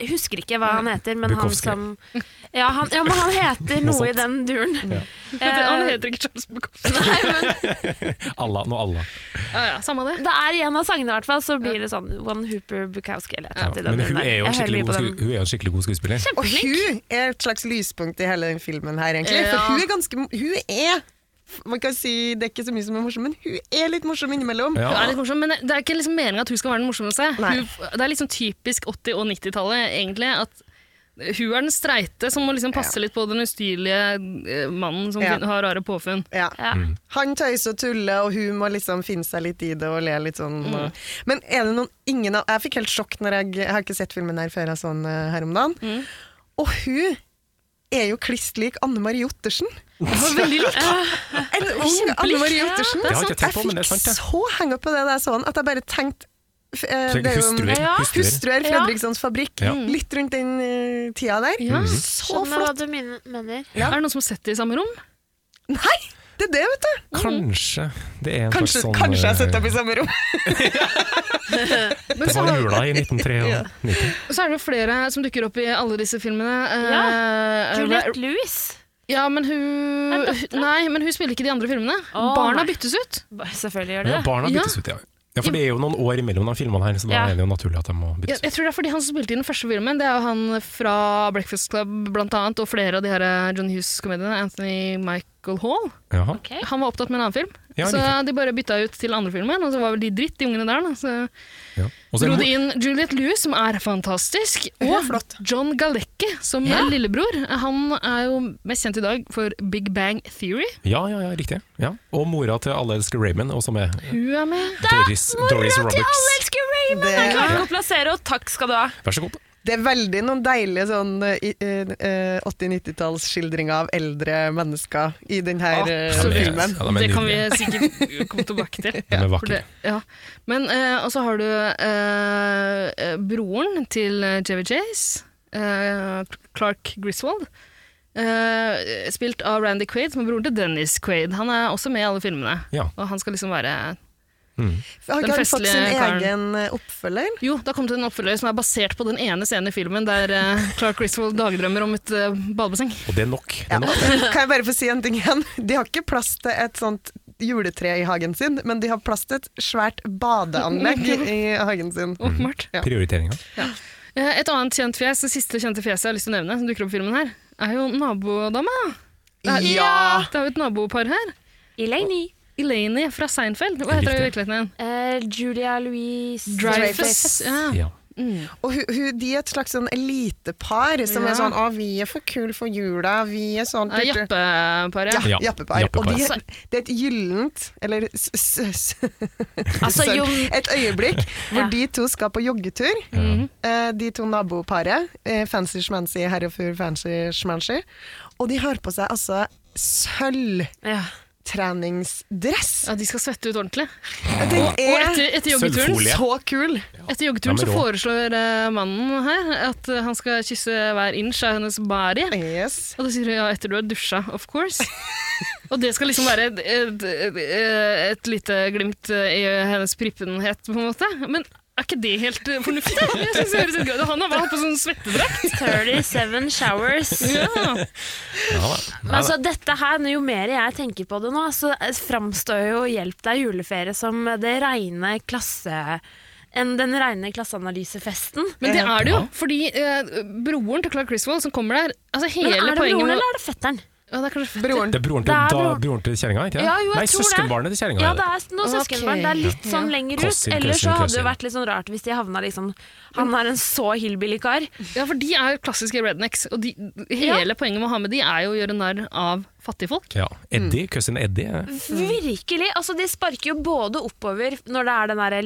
S3: jeg husker ikke hva han heter, men han
S2: Bukowski.
S3: som ja, han, ja, men han heter noe i den duren.
S4: Han
S3: Eh,
S4: heter ikke Charles Bukowski.
S2: Allah, nå Allah.
S4: Ja, ja, samme det.
S3: det er i en av sangene, i hvert fall, så blir det sånn One Hooper Bukowski. Eller et
S2: Ja.
S3: eller annet i den
S2: Men hun
S3: duren der.
S2: er jo en
S3: Jeg hører
S2: skikkelig
S3: mye
S2: god,
S3: på den.
S2: sku- hun er jo en skikkelig god skuespiller.
S1: Og hun er et slags lyspunkt i hele den filmen her, egentlig.
S4: Ja.
S1: For hun er ganske Hun er Man kan si det er ikke så mye som er morsom, men hun er litt morsom innimellom.
S4: Hun er
S2: Ja.
S4: litt morsom, men det er ikke liksom meningen at hun skal være den morsomste.
S1: Nei.
S4: Hun, det er liksom typisk 80- og 90-tallet, egentlig, at hun er den streite som må liksom passe litt på den ustyrlige eh, mannen som
S1: Ja.
S4: fin- har rare påfunn.
S1: Ja.
S3: Ja.
S2: Mm.
S1: Han tøyser og tuller, og hun må liksom finne seg litt i det og le litt sånn. Men er det noen ingen av Jeg fikk helt sjokk når jeg Jeg har ikke sett filmen her før jeg så den eh, her om dagen. Og hun er jo kliss lik Anne Marie Ottersen.
S4: Veldig lik!
S1: En ung Anne Marie Ottersen.
S2: Det har jeg ikke tenkt på, men det er
S1: Jeg
S2: sant,
S1: fikk
S2: det.
S1: så henge opp på det da jeg så den, at jeg bare tenkte f- eh,
S2: Tenk
S1: det er jo-
S2: Hustruer.
S3: Ja.
S2: hustruer.
S1: Hustruer, Fredrikssons fabrikk.
S2: Ja. Mm.
S1: Litt rundt den eh, tida der.
S4: Ja.
S1: Så
S3: Skjønner hva
S1: flott!
S3: du min- mener.
S4: Er det noen som har sett det i samme rom?
S1: Nei, det er det, vet du!
S2: Kanskje det er en
S1: Kanskje,
S2: slags sånn
S1: kanskje jeg setter opp
S2: eh,
S1: i samme rom.
S2: Det var jula i 1993.
S4: Og så er det jo flere som dukker opp i alle disse filmene. Eh, eh,
S3: Juliette Louis.
S4: ja, men hun, hun Nei, men hun spiller ikke de andre filmene.
S3: Å,
S4: Barna
S3: nei.
S4: byttes ut.
S3: Selvfølgelig gjør det
S2: Ja,
S3: det.
S2: barna
S4: Ja.
S2: byttes ut, ja. ja. For det er jo noen år imellom de filmene her, så da
S3: Ja.
S2: er det jo naturlig at de må
S4: Jeg,
S2: byttes ut.
S4: jeg tror det er fordi han som spilte i den første filmen, det er jo han fra Breakfast Club blant annet, og flere av de her eh, John Hughes-komediene, Anthony Michael Hall.
S2: Jaha.
S3: Ok.
S4: Han var opptatt med en annen film,
S2: Ja,
S4: så
S2: riktig.
S4: de bare bytta ut til andre filmen, og så var vel de dritt, de ungene der. Da. Så
S2: Ja. Og så er
S4: dro
S2: det
S4: de inn Juliette Lewis, som er fantastisk,
S1: Hun er
S4: og
S1: flott.
S4: John Galecki som er lillebror. Han er jo mest kjent i dag for Big Bang Theory.
S2: Ja, ja, ja, riktig. Ja. Og mora til alle elsker Raymond, og som er
S4: Hun er med.
S2: Doris, Doris Roberts.
S3: elsker Raymond!
S1: Det-
S3: Jeg klarer ikke å plassere, og takk skal du ha.
S2: Vær så god.
S1: Det er veldig noen deilige sånn eh, i- eh, 80-90-tallsskildringer av eldre mennesker i denne
S2: Absolutt.
S1: filmen.
S2: Ja, de er
S4: det kan vi
S2: nydelige.
S4: sikkert komme tilbake til.
S2: De er
S4: For
S2: vakre.
S4: det, ja. Men, eh, og så har du eh, eh, broren til eh, Chevy Chase, eh, Clark Griswold, eh, spilt av Randy Quaid, som er broren til Dennis Quaid. Han er også med i alle filmene.
S2: Ja.
S4: Og han skal liksom være
S1: Har
S2: Mm.
S4: Den
S1: ikke han fått sin
S4: festlige karen.
S1: egen eh, oppfølger?
S4: Jo, da kom det en oppfølger som er basert på den ene scenen i filmen der eh, Clark Griswold dagdrømmer om et eh, badebasseng.
S2: Og det er nok. Det
S1: Ja.
S2: er nok.
S1: Kan jeg bare få si en ting igjen? De har ikke plass til et sånt juletre i hagen sin, men de har plass til et svært badeanlegg i hagen sin.
S4: Åpenbart.
S1: Mhm. Ja.
S2: Prioriteringa.
S4: Eh, Et annet kjent fjes, det siste kjente fjeset jeg har lyst til å nevne, som dukker opp i filmen her, er jo nabodama. Det er,
S1: Ja!
S4: det er jo et nabopar her.
S3: Elaine.
S4: Elaine fra Seinfeld. Hva heter hun i virkeligheten igjen?
S3: Eh, Julia Louise
S4: Dreyfus. Ja.
S2: Ja.
S4: Mm.
S1: Og hu, hu, de er et slags sånn elitepar som
S4: Ja.
S1: er sånn 'Å, vi er for kule for jula', vi er sånn
S4: Eh, Jappepar, ja.
S1: Ja,
S2: Ja,
S1: jappepar. Og
S2: jappepar.
S1: de, det er et gyllent Eller s, s, s,
S3: Altså,
S1: sorry,
S3: jo,
S1: et øyeblikk hvor de to skal på joggetur.
S3: Mhm.
S1: Eh, de to naboparet. Eh, fancy schmancy, herre og fru fancy schmancy. Og de har på seg altså
S3: ja.
S1: sølvtreningsdress.
S4: ja. De skal svette ut ordentlig.
S1: Den
S4: Og
S1: er
S4: etter, etter joggeturen,
S2: Sølvfolie.
S1: så kul!
S4: etter joggeturen
S2: Ja,
S4: så
S2: men rå.
S4: foreslår eh, mannen her at eh, han skal kysse hver inch av hennes body.
S1: Yes.
S4: Og da sier hun ja, etter du har dusja, of course. Og det skal liksom være et, et, et- et lite glimt eh, i hennes prippenhet, på en måte. Men er ikke det helt eh, fornuftig? Jeg synes det høres litt gøy ut. Han har bare hatt på sånn svettedrakt.
S3: 37 showers.
S4: Ja.
S2: Ja, da.
S3: Men altså, dette her, jo mer jeg tenker på det nå, så framstår jo 'Hjelp deg juleferie' som det reine klasse... En, den reine klasseanalysefesten.
S4: Men det er det jo, fordi eh, broren til Clark Criswell som kommer der altså
S3: Men
S4: hele
S3: er det
S4: poenget
S3: broren,
S4: med-
S3: eller er det fetteren?
S4: Ja, det er kanskje fett.
S1: Broren.
S2: Det er broren til,
S3: Det er
S2: da-
S3: broren-
S2: broren til kjerringa, ikke det?
S3: Ja, jo, jeg
S2: Nei,
S3: tror det.
S2: søskenbarnet til kjerringa.
S3: Ja,
S2: er
S3: det er noe
S4: Ok.
S3: søskenbarn. Det er litt sånn lenger ut.
S2: Cousin,
S3: Ellers så
S2: cousin,
S3: hadde det
S2: cousin.
S3: vært litt sånn rart hvis de havna liksom Han er en så hillbilly-kar.
S4: Ja, for de er jo klassiske rednecks, og de, hele poenget med å ha med de er jo å gjøre narr av fattigfolk.
S2: Ja. Eddie, cousin Eddie.
S4: Mm.
S3: Virkelig! Altså, de sparker jo både oppover når det er den der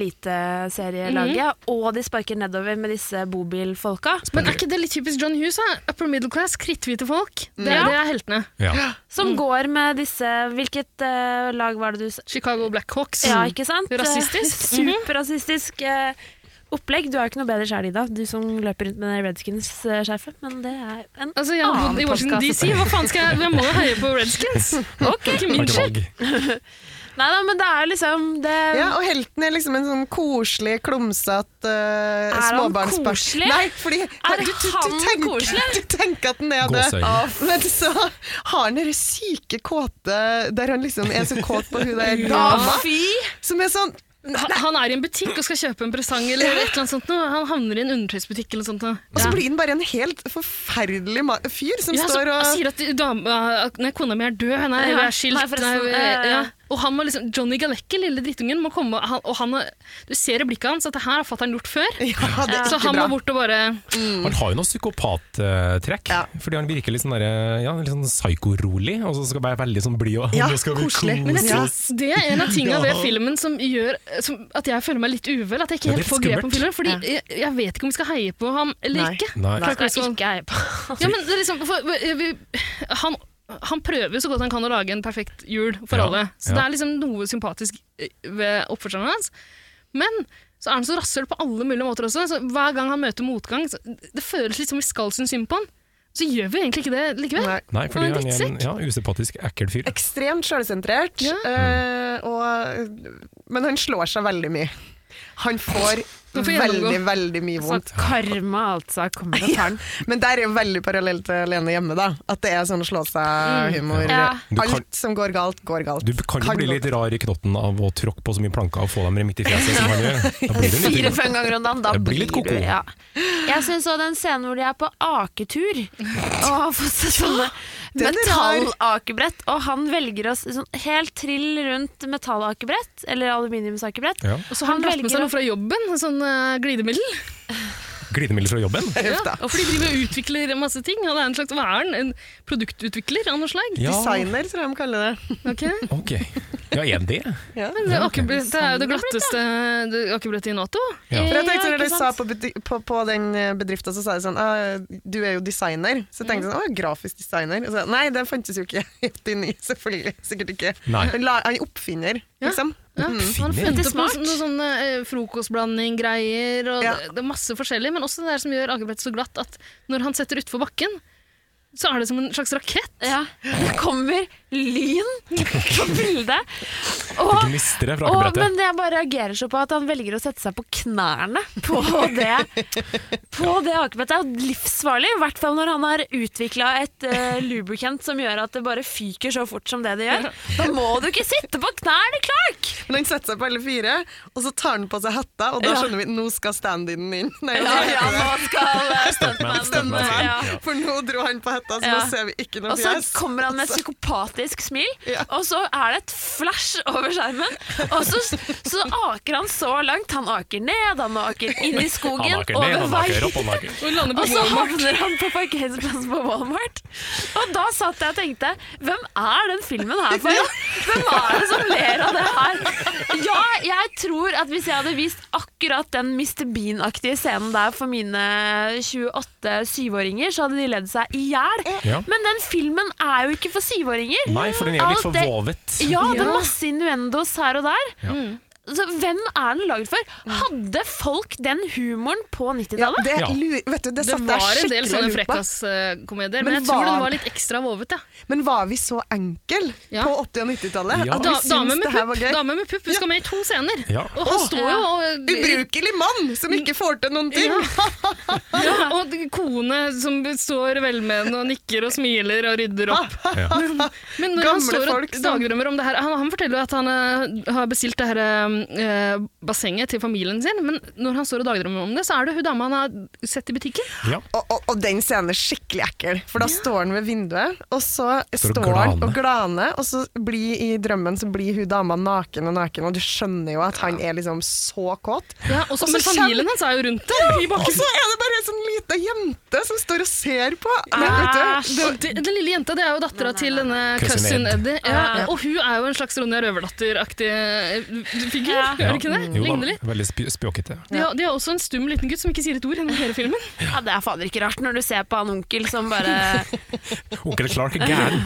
S4: Mm.
S3: eliteserielaget, og de sparker nedover med disse bobilfolka.
S4: Men er ikke det litt typisk John Hughes? da? Upper middle class, kritthvite folk. Det, er- det er heltene.
S2: Ja.
S3: Som går med disse Hvilket eh, lag var det du sa?
S4: Chicago Blackhawks.
S3: Ja, ikke sant?
S4: Rasistisk.
S3: Eh, Superrasistisk eh, opplegg. Du er jo ikke noe bedre sjæl, Ida, du som løper rundt med det Redskins-skjerfet, men det er en
S4: Altså, jeg har bodd i
S3: Annen
S4: Washington
S3: podcast.
S4: DC. Hva faen skal jeg Jeg må jo heie på Redskins. Ikke min
S2: Har ikke
S4: skyld.
S2: valg.
S3: Nei da, men det er liksom det,
S1: Ja, og helten er liksom en sånn koselig, klumsete uh,
S3: han
S1: småbarnsbarn.
S3: koselig?
S1: Nei, fordi
S3: Er
S1: du, du,
S3: han
S1: du, tenker,
S3: koselig?
S1: du tenker at den er det.
S2: Gåseøyne.
S1: Men så har han den syke kåte der han liksom er så kåt på hun der dama,
S3: Fy!
S1: som er sånn
S4: Han- Han er i en butikk og skal kjøpe en presang eller et eller annet sånt. nå. Han havner i en undertøysbutikk eller noe sånt. nå.
S1: Og så blir han bare en helt forferdelig ma fyr som
S4: Ja, så,
S1: står
S4: han
S1: og
S4: sier at dame, at nei, kona mi er død, nei,
S3: Ja,
S4: vi er skilt.
S3: nei,
S4: Nei,
S3: forresten,
S4: vi-
S3: eh,
S4: ja. Og han må liksom, Johnny Galecki, lille drittungen, må komme, og han, og han, er- du ser i blikket hans at det her har fatter'n gjort før.
S1: Ja, det er
S4: Så
S1: ikke
S4: han må
S1: bra.
S4: bort og bare
S2: Han har jo noen psykopattrekk,
S1: Ja.
S2: fordi han virker litt sånn der, ja, litt sånn psykorolig, og så skal han være veldig sånn blid og
S1: Ja,
S2: nå skal vi
S1: koselig.
S2: kose
S1: Men
S2: oss.
S1: jeg tror-
S4: Det er en av tingene ved
S2: Ja.
S4: filmen som gjør som, at jeg føler meg litt uvel. At jeg ikke
S2: Ja, det er
S4: helt får
S2: litt
S4: grep om filmen. Fordi jeg, jeg vet ikke om vi skal heie på ham eller
S1: Nei.
S4: ikke.
S2: Nei.
S4: Clark
S7: Skal jeg
S4: Griswold.
S7: ikke heie på.
S4: Ja, men det er liksom, for, vi, han, han prøver jo så godt han kan å lage en perfekt jul for
S2: Ja,
S4: alle. Så
S2: ja.
S4: det er liksom noe sympatisk eh, ved oppførselen hans. Men så er han så rasshøl på alle mulige måter også. Så hver gang han møter motgang, så det føles litt som vi skal synes synd på han. Så gjør vi egentlig ikke det likevel.
S1: Nei.
S2: Nei, fordi
S4: Han er
S2: han er en
S4: drittsekk.
S2: ja, usympatisk, ekkel fyr.
S1: Ekstremt sjølsentrert,
S4: Ja.
S1: eh, og, men han slår seg veldig mye. Han får
S4: Han får
S1: veldig,
S4: gjennomgå.
S1: veldig mye
S3: Så
S1: vondt.
S3: karma, altså, kommer fra faren.
S1: Men der er jo veldig parallell til Alene hjemme, da. At det er sånn å slå
S4: Mm.
S1: seg-humor.
S3: Ja.
S2: Du kan-
S1: Alt som går galt, går galt.
S2: Du kan jo
S1: Kan
S2: bli
S1: gå-
S2: litt rar i knotten av å tråkke på så mye planker og få dem midt i fjeset som han gjør. Da blir du litt
S3: Fire-fem ganger om dagen, da
S2: Det blir
S3: blir
S2: litt koko.
S3: du ja. Jeg syns òg den scenen hvor de er på aketur og har fått seg sånne
S1: den er rar.
S3: metallakebrett, og han velger å s- sånn helt trill rundt metallakebrett, eller aluminiumsakebrett.
S2: ja.
S4: Og så har
S3: Han
S4: han dratt med
S3: velger
S4: seg
S3: å-
S4: noe fra jobben, en sånn eh, glidemiddel.
S2: glidemiddel fra jobben.
S4: Ja, for de driver og utvikler masse ting. Og det er en slags, hva er han? En produktutvikler av noe slag?
S2: Ja,
S1: Designer, tror jeg de kaller det.
S4: Ok.
S2: ok. Ja, er han det?
S3: Mm.
S1: Ja.
S4: Men det, er akebrett- det er jo det glatteste det akebrettet i Nato.
S2: Ja.
S1: For jeg tenkte
S3: Ja,
S1: Når
S3: ikke
S1: de sa på, buti- på, på den eh, bedriften, så sa de sånn «Ah, Du er jo designer. Så jeg
S3: Mm.
S1: tenkte jeg sånn Å, grafisk designer. Og så, Nei, det fantes jo ikke i 89. Selvfølgelig. Sikkert ikke.
S2: Nei.
S1: Han, la, han er oppfinner, liksom.
S4: Ja, han
S2: Finner.
S4: funnet
S3: Det er
S4: opp noe,
S3: smart.
S4: noe sånn eh, frokostblanding-greier, og
S1: Ja.
S4: det, det er masse forskjellig, men også det der som gjør akebrettet så glatt at når han setter utfor bakken, så er det som en slags rakett.
S3: Ja. Det kommer lyn på bildet.
S2: Det
S3: Og
S2: gnistrer fra
S3: Åh,
S2: akebrettet.
S3: men jeg bare reagerer så på at han velger å sette seg på knærne på det, på det akebrettet. Det er jo livsfarlig, i hvert fall når han har utvikla et eh, lubricant som gjør at det bare fyker så fort som det det gjør. Da må du ikke sitte på knærne, Clark!
S1: Men han setter seg på alle fire, og så tar han på seg hetta, og da
S3: Ja.
S1: skjønner vi nå skal stand-in inn. Nei, altså,
S3: Ja, ja, nå skal eh, stuntman
S2: Stuntman,
S3: eh, ja.
S2: ja.
S1: For nå dro han på hetta, så
S3: Ja.
S1: nå ser vi ikke noe
S3: Og så
S1: fjes. Altså,
S3: kommer han med et psykopatisk smil,
S1: Ja.
S3: og så er det et flash over skjermen. Og så, så aker han så langt. Han aker ned, han aker inn i skogen,
S2: Han aker ned,
S3: over
S2: han aker
S3: veien.
S2: opp, han aker.
S4: Og lander på
S3: Og så
S4: Walmart.
S3: havner han på parkeringsplassen på Walmart. Og da satt jeg og tenkte Hvem er den filmen her for? Hvem er det som ler av det her? Ja, jeg tror at hvis jeg hadde vist akkurat den Mr. Bean-aktige scenen der for mine 28-7-åringer, så hadde de ledd seg i hjel.
S2: Ja.
S3: Men den filmen er jo ikke for 7-åringer.
S2: Nei, for den er litt
S3: Alt
S2: for
S3: det-
S2: vovet.
S3: Ja, det er masse innuendos her og der. altså, hvem er den laget for? Hadde folk den humoren på
S1: Ja,
S3: 90-tallet?
S1: det,
S2: Ja.
S1: lurer- vet du, det
S4: Det
S1: satt jeg
S4: var en del
S1: skikkelig
S4: sånne
S1: og lurte på.
S4: frekkas-komedier, men,
S1: Men
S4: jeg tror
S1: var-
S4: den var litt ekstra vovete. Ja.
S1: Men var vi så enkel
S4: Ja.
S1: på 80- og 90-tallet
S2: Ja.
S1: at vi
S4: Da,
S1: syntes
S4: dame, med
S1: det her
S4: pupp,
S1: var gøy?
S4: dame med pupp, hun skal med i to scener.
S2: Ja.
S4: Og han står jo og
S1: Ubrukelig mann som ikke får til noen ting!
S4: ja, Og kone som står velmenende og nikker og smiler og rydder opp.
S2: Ja.
S4: Men når
S1: Gamle
S4: han står og
S1: folk som-
S4: dagdrømmer om det her Han, han forteller jo at han eh, har bestilt det her eh, bassenget til familien sin, men når han står og dagdrømmer om det, så er det hun dama han har sett i butikken.
S2: Ja.
S1: Og, og, og den scenen er skikkelig ekkel, for da står han ved vinduet, og så
S2: Står
S1: står,
S2: og
S1: han
S2: glaner.
S1: og glaner, og så blir i drømmen så blir hun dama naken og naken, og du skjønner jo at han er liksom så kåt.
S4: Ja, og så,
S1: Og så
S4: men familien hans er jo rundt det. i
S1: Og
S4: bakgrunnen.
S1: så er det bare en sånn lita jente som står og ser på. Men, vet du,
S4: Og det- Den lille jenta det er jo dattera til denne
S2: Cousin
S4: cousin
S2: Ed.
S4: Eddie. Ja, og hun er jo en slags Ronja Røverdatter-aktig eh, figur. Er det ikke det?
S2: Jo da,
S4: Ligner litt.
S2: Veldig sp spjåkete.
S4: De har, de har også en stum liten gutt som ikke sier et ord gjennom hele filmen.
S7: Ja, det er fader ikke rart når du ser på han onkel som bare
S2: Onkel Clark er gæren.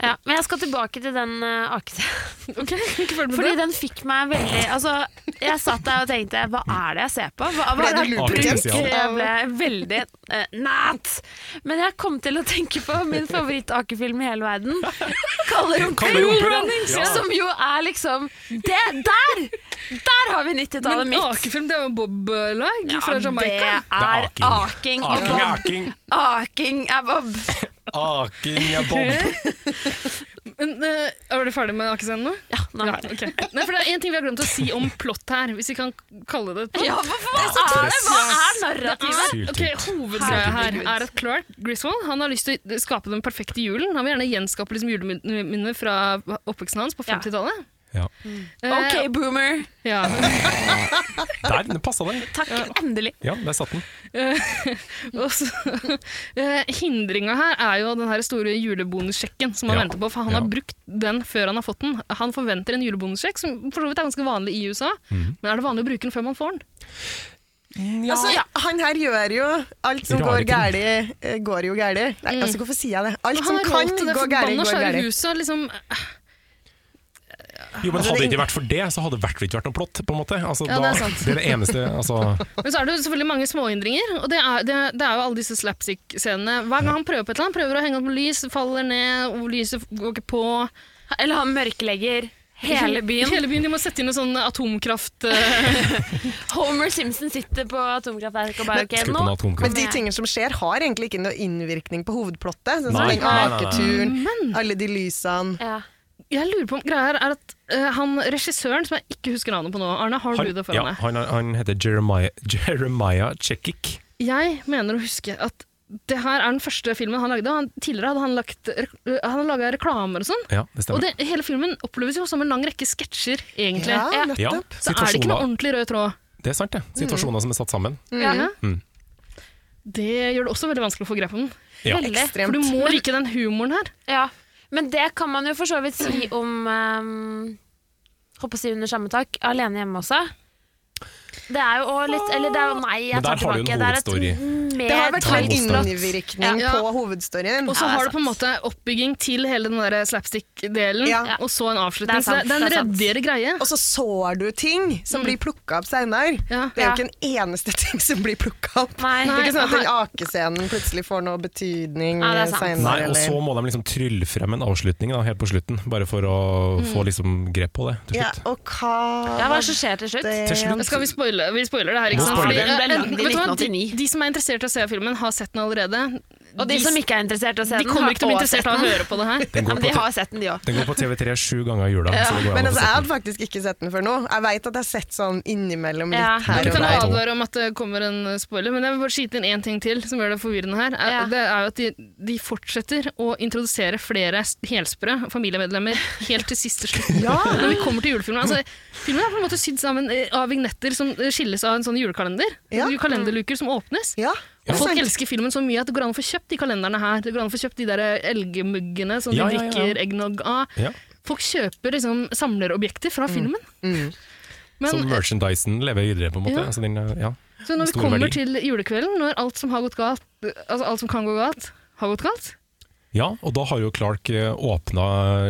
S3: Ja, men jeg skal tilbake til den uh, akescenen.
S4: Ok, ikke følg med
S3: Fordi
S4: det.
S3: den fikk meg veldig Altså, jeg satt der og tenkte Hva er det jeg ser på? Hva, hva
S1: Ble
S3: er
S1: du
S3: det
S1: lurt
S3: jeg
S2: igjen?
S3: bruker? Jeg ble veldig uh, nært. Men jeg kom til å tenke på min favoritt-akefilm i hele verden. Kalle
S2: Kalle
S3: Rumpe.
S2: Rumpe. Ja.
S3: Som jo er liksom Det der! Der har vi 90-tallet
S4: Men
S3: mitt!
S4: akefilm, det er jo Bob-lag fra Jamaica.
S3: Ja, det er aking. og
S2: Aking,
S3: bob.
S2: aking,
S3: Aking er bob.
S2: aking er bob.
S4: Men, eh, er du ferdig med akescenen nå?
S3: Ja, nå er det.
S4: ok. Nei, for det er en ting vi har glemt å si om plott her, hvis vi kan kalle det et plott.
S3: Ja, hva, hva er det? Hva er narrativet?
S2: Syltynt.
S4: Ok, Hovedgreia her er at Clark Griswold han har lyst til å skape den perfekte julen. Han vil gjerne gjenskape liksom juleminner fra oppveksten hans på
S3: Ja.
S4: 50-tallet.
S2: Ja.
S4: Eh,
S3: OK, boomer.
S4: ja.
S2: Der den passa det.
S3: Takk, endelig.
S2: Ja, der satt den.
S4: Og så, eh, hindringa her er jo den her store julebonussjekken som han
S2: Ja.
S4: venter på. For han
S2: Ja.
S4: har brukt den før han har fått den. Han forventer en julebonussjekk, som for så vidt er ganske vanlig i USA.
S2: Mhm.
S4: Men er det vanlig å bruke den før man får den?
S1: altså, han her gjør jo alt som
S2: Rare
S1: går
S2: ting.
S1: gæli, eh, går jo gæli. Nei, altså, hvorfor sier jeg det? Alt
S4: Han
S1: som
S4: har
S1: kan
S4: råd til det
S1: gå gæli,
S4: forbanna
S1: går
S4: svære
S1: gæli.
S4: huset. Liksom,
S2: Jo, men
S1: Altså,
S2: Hadde det
S1: det-
S2: ikke vært for det, så hadde det hvert fall ikke vært noe plott. på en måte. Altså,
S4: Ja,
S2: da,
S4: det er sant.
S2: det er det eneste altså,
S4: Men så er det jo selvfølgelig mange småhindringer, og det er, det, er- det er jo alle disse slapstick-scenene. Hver gang han prøver på et eller annet, prøver å henge opp noe lys, faller ned, og lyset går ikke på.
S3: Eller han mørklegger hele byen.
S4: Hele byen, De må sette inn en sånn atomkraft... eh,
S3: Homer Simpson sitter på atomkraftverket og bare OK,
S2: Skru på
S3: nå
S2: en atomkraft.
S1: Men de tingene som skjer, har egentlig ikke noe innvirkning på hovedplottet. Sånn som
S2: Nei,
S1: den
S2: nei, nei, nei.
S1: aketuren, alle de lysene.
S3: ja.
S4: Jeg lurer på om greia her er at eh, han regissøren, som jeg ikke husker navnet på nå Arne, har du
S2: Han,
S4: det
S2: ja,
S4: foran deg?
S2: han, er- han heter Jeremiah, Jeremiah Chekik.
S4: Jeg mener å huske at det her er den første filmen han lagde. og Han, tidligere hadde han, lagt, eh, re- han hadde laga reklamer og sånn.
S2: Ja, det
S4: Og
S2: stemmer.
S4: det, hele filmen oppleves jo som en lang rekke sketsjer, egentlig.
S1: Ja,
S2: ja,
S1: nettopp.
S4: Så er det ikke noe
S2: situasjoner,
S4: ordentlig rød tråd.
S2: det er sant, det. Situasjoner som er satt sammen.
S4: Ja.
S2: Mm.
S4: Det gjør det også veldig vanskelig å få grep om den.
S2: Ja.
S3: Veldig.
S4: For du må like den humoren her.
S3: Ja. Men det kan man jo for så vidt si om um, Håper å si under samme tak. Alene hjemme også. Det er jo også litt Eller det er jo Nei,
S2: Men
S3: jeg tar
S2: der har du en
S3: tilbake. Det er et
S1: Det har
S3: mer
S1: vært
S2: Tar
S1: en
S2: motstand.
S1: innvirkning
S4: Ja.
S1: på hovedstoryen.
S4: Og så
S3: Ja, det er
S4: har du på en måte oppbygging til hele den der slapstick-delen,
S1: Ja.
S4: og så en
S3: Det
S4: avslutning.
S3: er sant,
S4: så det, det
S3: det
S4: er
S3: er
S4: en
S3: sant.
S4: reddere greie.
S1: Og så sår du ting som blir plukka opp seinere.
S4: Ja.
S1: Det er jo ikke en eneste ting som blir plukka opp.
S3: Nei.
S1: Det er ikke sånn at den akescenen plutselig får noe betydning
S3: Ja, det er sant.
S2: Nei,
S1: seinere.
S2: og så må de liksom trylle frem en avslutning da, helt på slutten, bare for å få liksom grep på det til
S1: ja, eh,
S2: slutt.
S1: og hva
S3: Ja, hva er det som skjer til slutt?
S1: det-
S2: Til slutt.
S4: Skal vi spoile vi spoiler det her, ikke
S2: Må
S4: sant?
S2: spoile
S4: Fordi,
S2: det.
S4: eh,
S7: Den ble lagd i
S4: vet du hva,
S7: 1989.
S4: De, de som er interessert i å se filmen, har sett den allerede.
S3: Og de som ikke er interessert i å se
S4: de
S3: den,
S4: kommer
S3: har
S4: ikke til å bli
S3: også
S4: interessert
S3: sett
S4: av å
S3: den.
S4: høre på det her.
S2: Den
S7: Ja,
S2: går
S7: men
S2: på,
S7: de har sett den, de òg.
S2: den går på TV3 sju ganger i jula. Så det går an
S1: Men
S2: å få
S1: altså, jeg
S2: sett
S1: hadde faktisk ikke sett den før nå. Jeg veit at jeg har sett sånn innimellom litt
S3: Ja.
S4: Du
S1: her og
S4: kan
S1: der.
S4: advare om at det kommer en eh, spoiler, men jeg vil bare skyte inn én ting til som gjør det forvirrende her. Er,
S3: Ja.
S4: Det er jo at de, de fortsetter å introdusere flere s- helsprø familiemedlemmer helt til siste slutt. Når vi kommer til julefilmen. Altså, filmen er på en måte sydd sammen eh, av vignetter som eh, skilles av en sånn julekalender.
S1: Ja.
S4: Kalenderluker som åpnes.
S1: Ja,
S4: Og
S1: det er
S4: Folk
S1: sant.
S4: elsker filmen så mye at det går an å få kjøpt de kalenderne her. Det går an å få kjøpt de der elgmuggene som
S2: Ja,
S4: de
S2: ja, ja.
S4: drikker eggnog av.
S2: Ja.
S4: Folk kjøper liksom samlerobjekter fra filmen.
S1: Mm.
S2: Så
S4: Men,
S2: merchandisen lever videre, på en måte.
S4: Ja.
S2: Så den, eh, ja.
S4: så når vi
S2: stor
S4: kommer
S2: verdi.
S4: til julekvelden, når alt som har gått galt, altså alt som kan gå galt, har gått galt,
S2: Ja, og da har jo Clark eh, åpna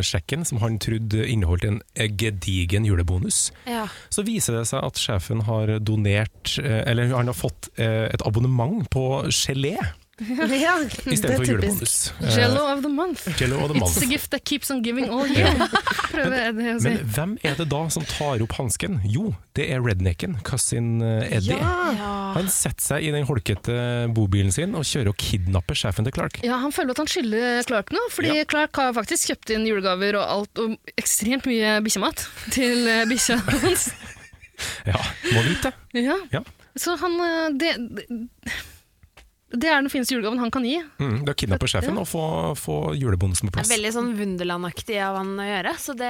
S2: sjekken, som han trodde inneholdt en eh, gedigen julebonus.
S3: Ja.
S2: Så viser det seg at sjefen har donert, eh, eller han har fått eh, et abonnement på gelé
S1: Ja, det er
S2: istedenfor
S1: typisk.
S2: julebonus. Eh,
S4: Jello of the month.
S2: Jello of the
S4: It's a
S2: month.
S4: gift that keeps on giving all year. Prøver Eddie å si.
S2: Men hvem er det da som tar opp hansken? Jo, det er rednecken, cousin eh, Eddie. Han setter seg i den holkete bobilen sin og kjører og kidnapper sjefen til Clark.
S4: Ja, Han føler at han skylder Clark noe, fordi
S2: Ja.
S4: Clark har faktisk kjøpt inn julegaver og alt, og ekstremt mye bikkjemat til eh, bikkja hans.
S2: Ja, må vite det.
S4: Ja.
S2: Ja.
S4: Så han eh, det, det- det er den fineste julegaven han kan gi.
S2: Mm, det er å kidnappe sjefen og få, få julebonusen på
S3: Det er
S2: plass.
S3: veldig sånn Wunderland-aktig av han å gjøre, så det,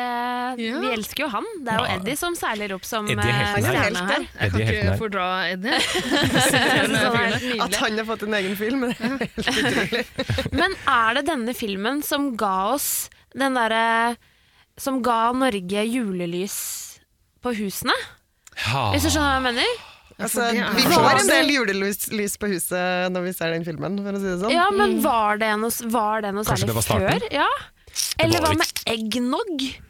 S4: Ja.
S3: vi elsker jo han. Det er jo
S2: Ja.
S3: Eddie som seiler opp som
S2: Eddie er helten
S3: eh,
S2: her.
S3: stjerne her.
S4: Jeg
S2: Eddie
S4: kan
S2: er helten
S4: ikke
S2: her.
S4: fordra Eddie.
S3: Jeg synes han er helt nydelig.
S1: At han har fått en egen film, det er helt utrolig.
S3: Men er det denne filmen som ga oss den derre Som ga Norge julelys på husene?
S2: Ha.
S3: Hvis du skjønner hva jeg sånn, mener?
S1: Altså,
S4: det er-
S1: vi får en del julelys lys på huset når vi ser den filmen, for å si det sånn.
S3: Ja, men var det noe, var det noe
S2: Ah. Kanskje
S3: særlig
S2: det var starten?
S3: før? Ja. Eller
S2: var Mm. jo
S3: hva med eggnog?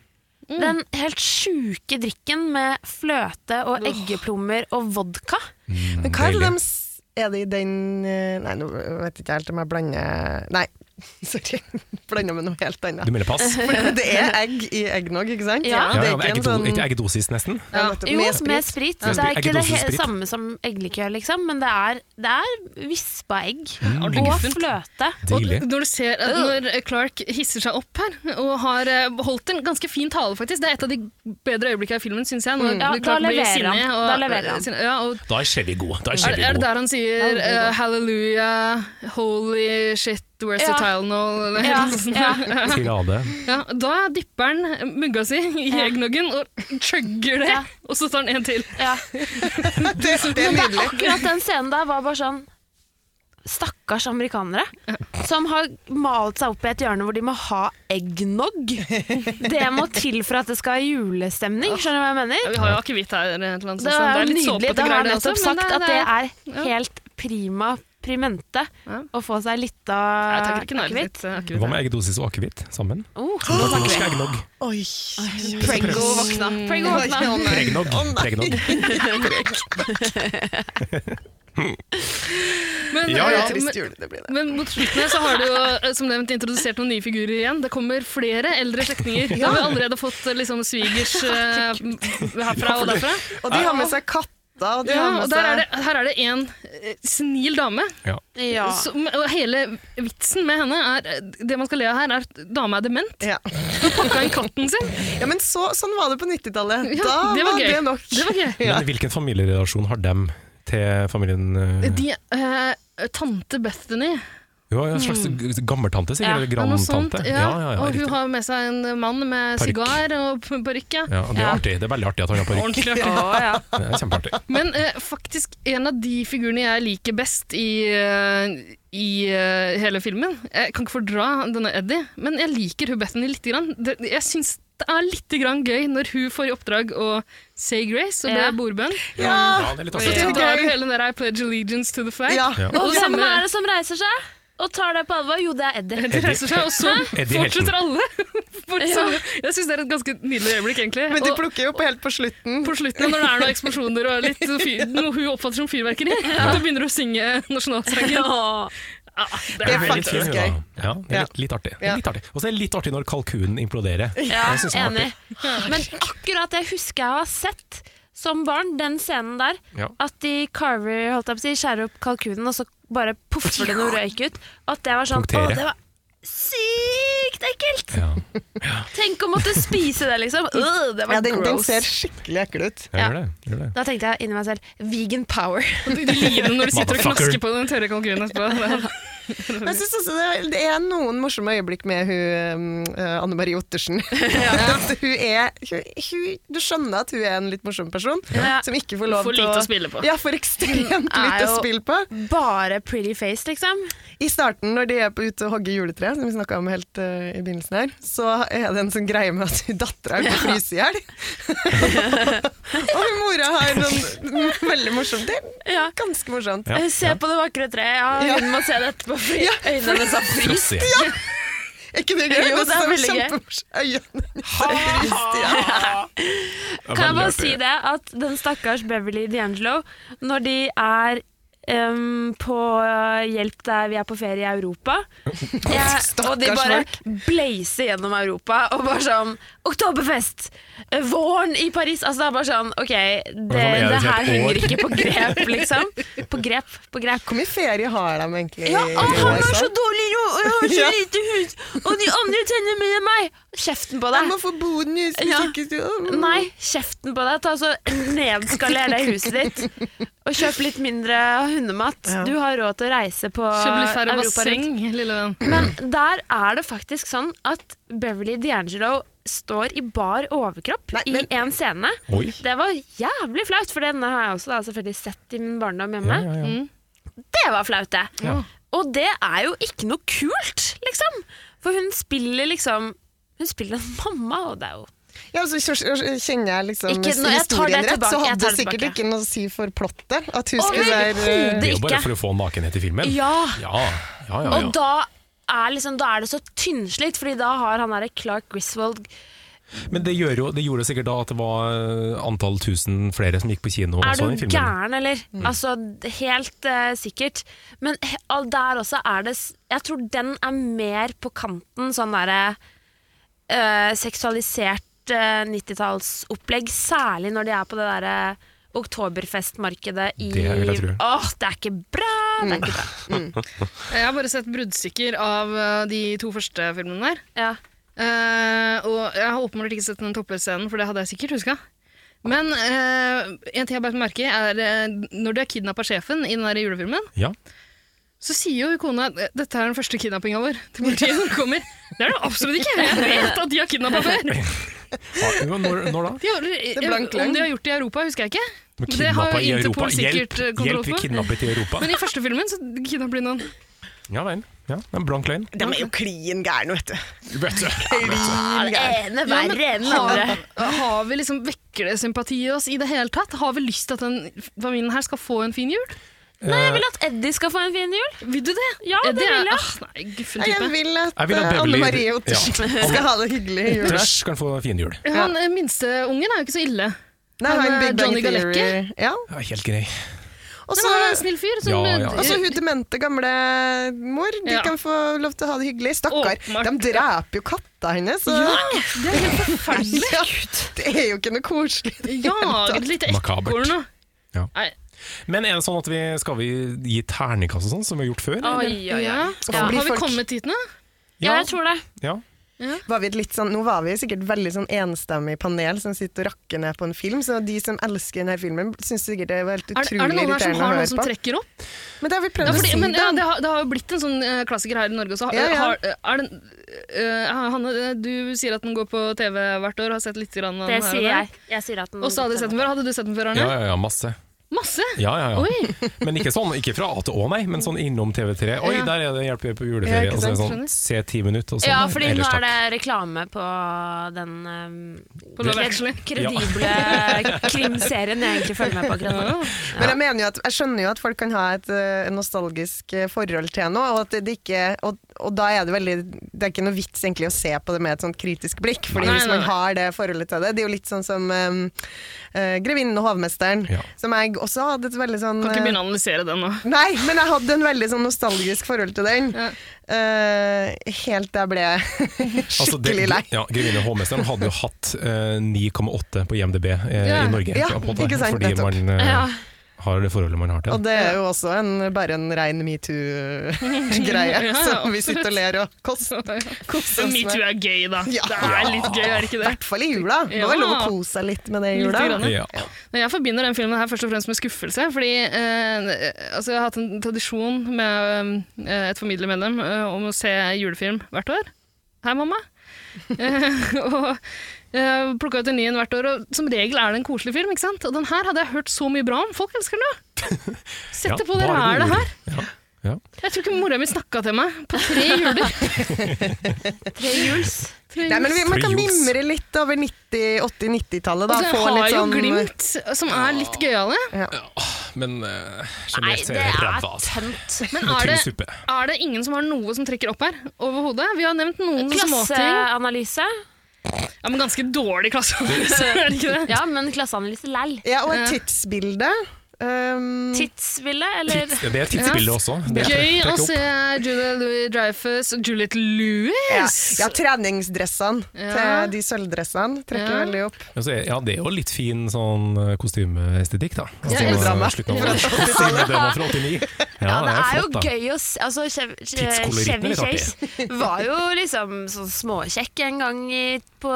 S3: Den helt sjuke drikken med fløte og eggeplommer og vodka.
S1: Men hva er
S2: Mm,
S1: det
S2: Deilig.
S1: de s- Er det i den eh, Nei, nå vet jeg ikke helt om jeg blander Nei, sorry. Blander med noe helt annet.
S2: Du melder pass?
S1: For det er egg i eggnog, ikke sant?
S3: Ja.
S2: Ja,
S1: Det
S2: ja,
S1: er
S2: men
S1: ikke en
S2: eggedo,
S1: sånn
S2: Ikke eggedosis, nesten?
S1: Ja, nettopp.
S3: Jo,
S1: Med
S3: med sprit.
S1: sprit.
S3: Det er
S2: Sprit.
S3: ikke det
S2: Eggedose
S3: he
S2: sprit.
S3: samme som eggelikør, liksom, men det er, det er vispa egg.
S4: Ordentlig
S3: Og
S4: guffent.
S3: fløte.
S4: Og
S2: Deilig.
S4: når du ser at når Clark hisser seg opp her, og har eh, holdt en ganske fin tale, faktisk Det er et av de bedre øyeblikkene i filmen, syns jeg. Når
S3: Mm. Ja, da
S4: Clark blir
S3: leverer
S4: sinne
S3: han.
S4: og-
S3: Da leverer han.
S4: sinne- Ja, og
S2: Da er Chevy god. Da er
S4: er,
S2: Chevy
S4: er det
S2: god.
S4: der han sier eh, 'hallelujah, holy shit, where's
S3: Ja.
S4: the Tylenol'? eller
S3: Ja,
S4: noe sånt.
S3: ja.
S2: Tirade.
S4: Ja, da dipper han mugga si i eggnoggen og chugger det,
S3: Ja.
S4: og så tar han en til.
S3: ja.
S1: Det, det er nydelig.
S3: Akkurat den scenen der var bare sånn Stakkars amerikanere som har malt seg opp i et hjørne hvor de må ha eggnog. Det må til for at det skal ha julestemning, skjønner du hva jeg
S4: Ja,
S3: mener?
S4: vi har jo akevitt her, et eller annet, sånt,
S3: Det
S4: så
S3: er
S4: det er
S3: jo
S4: litt
S3: nydelig.
S4: såpete
S3: Da har
S4: greier,
S3: jeg nettopp
S4: men eh,
S3: sagt at det er helt prima primente
S4: Ja.
S3: å få seg litt
S4: Jeg
S3: av
S4: takker ikke nærmest litt eh, akevitt.
S2: Hva med eggedosis og akevitt sammen?
S3: Oh,
S2: Norsk eggnog.
S1: Oi.
S2: Prego
S1: våkna.
S3: Prego våkna.
S2: Pregnog. Pregnog.
S4: Men,
S2: Ja, ja.
S4: eh, men-
S1: Trist jul, det blir det.
S4: Men mot slutten her så har du jo eh, som nevnt introdusert noen nye figurer igjen. Det kommer flere eldre slektninger. Da har vi allerede fått eh, liksom svigers eh, herfra og derfra.
S1: Og de har med seg katter, og de
S4: Ja,
S1: har med
S4: og der er
S1: seg
S4: det, her er det en eh, senil dame.
S3: Ja.
S4: Som, og hele vitsen med henne er eh, Det man skal le av her, er at dama er dement.
S1: ja.
S4: Pakka inn katten sin.
S1: ja, men så, sånn var det på 90-tallet.
S4: Ja,
S1: da
S4: det var
S1: var,
S4: gøy.
S1: det nok.
S4: Det var gøy.
S2: Men hvilken familierelasjon har dem til familien eh,
S4: De, eh, tante Bethany
S2: Hun har en slags g- gammeltante, sikkert.
S3: Ja,
S2: Eller
S4: eller noe sånt.
S2: grandtante.
S4: Ja, og
S2: riktig.
S4: hun har med seg en mann med
S2: Parykk.
S4: sigar og p- parykk. Ja.
S2: ja, det er
S3: Ja.
S2: artig. Det er veldig artig at han har parykk.
S4: Ordentlig.
S3: Å, ja.
S2: Det er Kjempeartig.
S4: Men eh, faktisk en av de figurene jeg liker best i, eh, i eh, hele filmen Jeg kan ikke fordra denne Eddie, men jeg liker hun Bethany litt. Grann. Det, jeg syns det er litt grann gøy når hun får i oppdrag å say grace og be
S3: Ja.
S4: bordbønn.
S2: Ja,
S1: Ah,
S2: det er litt
S4: Så
S2: artig.
S1: Ja.
S4: drar hun hele den der I pledge allegiance to the flag.
S1: Ja.
S2: Ja.
S3: Og
S4: Og
S3: hvem
S4: samme
S3: er det som reiser seg og tar det på alvor? Jo, det er Eddie.
S4: de reiser seg, og så
S2: Eddie Helten.
S4: fortsetter alle. For samme- Jeg syns det er et ganske nydelig øyeblikk, egentlig.
S1: Men de
S4: Og-
S1: plukker jo opp helt på slutten.
S4: på slutten, når det er noen eksplosjoner og litt fyr, noe hun oppfatter som fyrverkeri, da begynner hun å synge nasjonalsangen.
S3: Å.
S4: Ja,
S1: Det
S4: er
S1: er
S2: Veldig fin,
S1: faktisk
S2: hun,
S1: gøy.
S2: da. Ja, det er litt, litt artig. Det er Litt artig. Og så er det litt artig når kalkunen imploderer.
S3: Ja,
S2: Jeg synes det var
S3: enig. Men akkurat det husker jeg å ha sett som barn, den scenen der.
S2: Ja.
S3: At de carver, holdt jeg på å si, skjærer opp kalkunen, og så bare poffer det noe røyk ut. At det var sånn
S2: Punktere.
S3: Å, det var sykt ekkelt!
S2: Ja.
S3: Tenk å måtte spise det, liksom. Øh, det var
S1: Ja, den, den
S3: gross.
S1: ser skikkelig ekkel ut.
S2: Jeg gjør det. Jeg gjør det.
S3: Da tenkte jeg inni meg selv vegan power.
S4: Du lider når du sitter og
S2: Motherfucker.
S4: knasker på den tørre kalkunen etterpå.
S1: Men jeg synes også det, er- det er noen morsomme øyeblikk med hun eh, Anne Marie Ottersen. At hun er, hun, hun, du skjønner at hun er en litt morsom person,
S3: Ja.
S1: som ikke får lov
S4: For
S1: til
S4: lite å spille på.
S1: Ja, for ekstremt
S3: Er
S1: lite å
S3: jo-
S1: spille på.
S3: Bare pretty face, liksom.
S1: I starten, når de er på ute og hogger juletre, som vi snakka om helt eh, i begynnelsen her, så er det en sånn greie med at hun dattera er på fryse i hjel. og hun mora har noen veldig morsomt. Det er
S3: Ja.
S1: ganske morsomt.
S2: Ja,
S3: Se på Eh, det vakre treet. Ja,
S1: Ja.
S3: hun må se det etterpå, fordi øynene hennes har fryst.
S2: Frossi.
S1: Er ikke det gøy?
S7: Jo, det er
S1: var
S7: veldig gøy.
S1: kjempemorsomt. Øynene
S3: Kan jeg bare si det, at den stakkars Beverly D'Angelo, når de er em, på eh, hjelp der vi er på ferie i Europa jeg, Og de
S1: Stakkars
S3: bare
S1: folk.
S3: blazer gjennom Europa og bare sånn Oktoberfest! eh, Våren i Paris! Altså det er bare sånn OK, det,
S2: er det
S3: det
S2: til et
S3: her henger
S2: år?
S3: ikke på grep, liksom. På grep, på grep.
S1: Hvor mye ferie har de egentlig?
S3: Ja,
S1: i
S3: å,
S1: år,
S3: han har så
S1: Eh, sant?
S3: dårlig råd, og jeg har så
S1: Ja.
S3: lite hus, og de andre tenner mer enn meg! Kjeften på
S1: Jeg
S3: deg.
S1: må få boden i
S3: Ja.
S1: sykestuen.
S3: Nei, kjeften på deg. Ta så Nedskaler det huset ditt. Og kjøp litt mindre hundemat.
S1: Ja.
S3: Du har råd til å reise på
S4: Kjøp litt færre
S3: Europa rundt.
S4: basseng, lille venn.
S3: Men der er det faktisk sånn at Beverly D'Angelo står i bar overkropp
S1: Nei, men-
S3: i en scene.
S2: Oi.
S3: Det var jævlig flaut, for denne har jeg også da, selvfølgelig sett i min barndom hjemme.
S2: Ja, ja, ja.
S3: Det var flaut, det. Og det er jo ikke noe kult, liksom. For hun spiller liksom Hun spiller en mamma, og det er jo
S1: Ja, så kjør- kjenner jeg liksom
S3: Ikke nå, jeg tar det
S1: historien rett, så hadde
S3: tilbake, jeg tar
S1: det
S3: det
S1: sikkert
S3: tilbake.
S1: ikke noe å si for plottet at hun skulle
S3: Overhodet
S1: være eh,
S2: Det er jo bare
S3: ikke.
S2: for å få nakenhet i filmen.
S3: Ja!
S2: Ja, ja, ja,
S3: Og
S2: ja.
S3: da er, liksom, da er det så tynnslitt, Fordi da har han derre Clark Griswold
S2: Men det, gjør jo, det gjorde sikkert da at det var eh, antall tusen flere som gikk på kino.
S3: Er
S2: og sånn i
S3: du
S2: filmen.
S3: gæren, eller?
S4: Mm.
S3: Altså, d- helt eh, sikkert. Men he- all- der også er det s- Jeg tror den er mer på kanten sånn derre eh, seksualisert eh, 90-tallsopplegg. Særlig når de er på det derre oktoberfestmarkedet i
S2: Det vil jeg tro.
S3: Åh, det er ikke bra!
S4: Mm.
S3: Det er ikke bra.
S4: Jeg har bare sett bruddstykker av eh, de to første filmene der.
S3: Ja.
S4: Eh, og jeg har åpenbart ikke sett den toppløpsscenen, for det hadde jeg sikkert huska. Men eh, en ting jeg bare merker, er eh, når du er kidnappa av sjefen i den der julefilmen,
S2: Ja.
S4: så sier jo kona at dette er den første kidnappinga vår til politiet når det kommer. Det er det absolutt ikke! Jeg vet at de har kidnappa før!
S2: Ja, jo, når, når da?
S4: De har, jeg,
S1: blank løgn.
S4: om de har gjort det i Europa, husker jeg ikke.
S2: Men
S4: Det har
S2: kidnappa i
S4: Interpol
S2: Europa.
S4: sikkert,
S2: Hjelp,
S4: eh, kontroll
S2: hjelp vi
S4: på.
S2: kidnappet i Europa.
S4: Men i første filmen så kidnapper de noen.
S2: Ja vel. Ja, en blank løgn.
S1: De er jo klin gærne, vet du.
S2: Vet du.
S1: Klin
S3: Det
S1: gærne.
S3: ene
S4: Ja, men
S3: Eh, verre enn det andre.
S4: har, har vi liksom Vekker det sympati i oss i det hele tatt? Har vi lyst til at den familien her skal få en fin jul?
S3: Nei, jeg vil at Eddie skal få en fin jul.
S4: Vil du det?
S3: Ja,
S4: Eh,
S3: det vil jeg.
S4: ah, nei, guffen
S1: Nei, Jeg
S4: type.
S1: vil at
S2: Jeg vil at
S1: eh, Anne
S2: Beverly-
S1: Marie Ottersen skal ha det hyggelig i jula.
S2: Tørs kan få finjul.
S4: Han eh, minste ungen er jo ikke så ille.
S1: Nei,
S4: Han,
S1: han
S4: eh,
S1: Big Bang
S4: Johnny
S1: Theory.
S4: Galecki?
S1: Ja.
S2: Ja, helt grei.
S1: Og
S4: Nei,
S1: så
S4: men han er en snill fyr. Som,
S2: Ja, ja.
S1: og så hun demente gamle mor. De
S4: Ja.
S1: kan få lov til å ha det hyggelig. Stakkar.
S4: Åpenbart.
S1: De dreper jo katta hennes. Så.
S4: Det er helt forferdelig.
S1: Ja, det er jo ikke noe koselig.
S4: Ja, et lite
S2: Makabert.
S4: ekorn nå.
S2: Ja.
S4: Nei,
S2: Men er det sånn at vi skal vi gi terningkast og sånn, som vi har gjort før?
S3: Oi, oi, oi.
S4: ja.
S1: Hvorfor
S4: Har
S1: blir
S4: vi
S1: folk-
S4: kommet dit nå?
S3: Ja, jeg tror det.
S2: Ja.
S1: Var vi et litt sånn, nå var vi sikkert veldig sånn enstemmig panel som sitter og rakker ned på en film, så de som elsker denne filmen, syns sikkert det var helt
S4: Er, er
S1: utrolig
S4: det noen her som
S1: irriterende å
S4: har noen
S1: høre
S4: som
S1: på.
S4: trekker opp?
S1: Men det har vi prøvd
S4: Ja,
S1: å
S4: fordi,
S1: si,
S4: men, ja, det,
S1: da.
S4: har, det har jo blitt en sånn eh, klassiker her i Norge også. Har,
S1: Ja, ja.
S4: Har, er det, eh, Hanne, eh, du sier at den går på TV hvert år, har sett litt grann av
S3: Det
S4: den her og
S3: sier
S4: der.
S3: jeg. Jeg sier at den
S4: Og så hadde du sett den før. Hadde du sett den før,
S2: Ja,
S4: Arne?
S2: ja, ja, masse.
S4: Masse!
S2: Ja, ja, ja.
S4: Mm. Oi!
S2: Men ikke sånn, ikke fra A til Å, nei, men sånn innom TV3. Oi,
S4: Ja.
S2: der er det hjelp vi er på
S1: Ja,
S2: juleferie.
S1: ikke
S2: Og så er det
S1: sant,
S2: sånn, se ti minutter, og sånn.
S3: Ja, fordi nå
S2: Ellers
S3: er
S2: takk.
S3: det reklame på den um,
S7: ehm,
S4: På Love Actually.
S3: kredible krimserien jeg egentlig følger med på akkurat nå.
S1: Men jeg, mener jo at, jeg skjønner jo at folk kan ha et eh, nostalgisk eh, forhold til noe, og, at det ikke, og, og da er det veldig Det er ikke noe vits egentlig å se på det med et sånt kritisk blikk, Fordi
S4: Nei,
S1: hvis
S4: nei,
S1: man
S4: nei.
S1: har det forholdet til det Det er jo litt sånn som um, eh, 'Grevinnen og hovmesteren',
S2: Ja.
S1: som jeg også hadde et veldig sånn
S4: Kan ikke
S1: eh,
S4: begynne å analysere den nå.
S1: Nei, men jeg hadde en veldig sånn nostalgisk forhold til den.
S4: Ja.
S1: Eh, helt til jeg ble
S2: Altså, det-
S1: skikkelig lei.
S2: Ja, Grevinne Håmesteren hadde jo hatt eh, 9,8 på IMDb eh,
S4: Ja,
S2: i Norge.
S1: ja,
S2: på det,
S1: ikke sant,
S2: fordi
S1: nettopp.
S2: man eh,
S3: Ja.
S2: har det forholdet man har til
S1: Og
S2: det.
S1: det er jo også en, bare en rein metoo-greie,
S4: Ja, ja,
S1: som vi sitter og ler og koser koser oss
S4: Metoo
S1: med.
S4: er gøy, da.
S1: Ja.
S4: Det er litt gøy, er det ikke
S1: I
S4: det?
S1: hvert fall i jula. Det var
S4: Ja.
S1: lov å kose seg litt med det i
S4: Lite
S1: jula.
S4: grann.
S2: Ja.
S4: Men Jeg forbinder den filmen her først og fremst med skuffelse. Fordi eh, altså, jeg har hatt en tradisjon med eh, et familiemedlem eh, om å se julefilm hvert år. Hei, mamma. Eh, og eh, plukka ut en ny en hvert år. Og som regel er det en koselig film. ikke sant? Og den her hadde jeg hørt så mye bra om. Folk elsker den jo! Sett det på,
S2: Ja,
S4: dere
S2: bare
S4: er
S2: gode
S4: det her.
S2: ord. Ja. Ja.
S4: Jeg tror ikke mora mi snakka til meg på tre juler.
S3: Tre juls.
S4: Tre
S1: Nei, men vi, Man kan
S2: Free juice.
S1: mimre litt over 90-, 80-, 90-tallet.
S4: Og
S1: da,
S4: så
S1: få
S4: altså, har
S1: litt
S4: jo
S1: sånn-
S4: Glimt, som er litt gøyale.
S1: Ja.
S2: men eh,
S7: Nei,
S2: generelt så
S7: det
S2: er det
S7: er
S2: ræva. altså.
S7: tømt.
S4: Men
S2: Med
S4: er
S2: tynn
S4: det,
S2: suppe.
S4: er det ingen som har noe som trekker opp her overhodet? Vi har nevnt noen småting.
S7: Klasseanalyse?
S4: Ja, men ganske dårlig klasseanalyse, er det ikke det?
S7: Ja, men klasseanalyse læll.
S1: Ja, og et tidsbilde. Um,
S7: Tidsbilde, eller
S2: Tids, ja, det er tidsbildet også. Det er-
S4: Gøy altså.
S2: trekker
S4: å
S2: opp.
S4: se Julia Louis Dreyfus og Juliette Louis.
S1: ja, ja, treningsdressene
S4: Ja.
S1: til de sølvdressene trekker
S4: Ja.
S1: veldig opp.
S2: Men så er- Altså, Ja, det er jo litt fin sånn eh, kostymeestetikk, da.
S4: Ja,
S2: eh,
S1: drama.
S2: slutten av- Kostymedrama fra 89.
S7: Ja, det er jo
S2: flott, da.
S7: gøy å se altså, Chev-
S2: Tidskoloritten er
S7: Chevy
S2: litt
S7: Chase var jo liksom sånn småkjekk en gang i, på,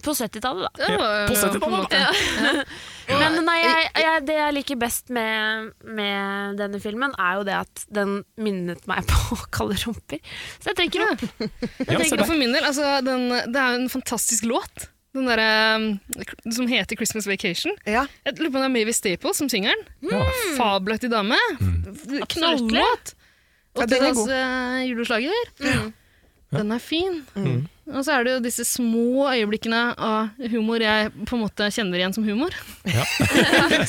S7: på 70-tallet, da.
S4: Det var-
S2: På 70-tallet,
S4: på en måte.
S7: Men nei, jeg, jeg, det jeg liker best med, med denne filmen, er jo det at den minnet meg på kalde rumper. Så jeg trekker opp.
S2: Ja,
S4: Jeg
S2: se
S4: tenker
S2: der.
S4: for min del, altså, den, Det er jo en fantastisk låt. Den derre um, som heter 'Christmas Vacation'.
S1: Ja.
S4: Jeg lurer på om det er Mavis Staples som synger den.
S2: Ja.
S4: Fabelaktig dame. Mm. Knalllåt.
S1: Ja, den er god.
S4: 80-talls eh, juleslager. Mm. Den er fin.
S1: Mm.
S4: Og så er det jo disse små øyeblikkene av humor jeg på en måte kjenner igjen som humor.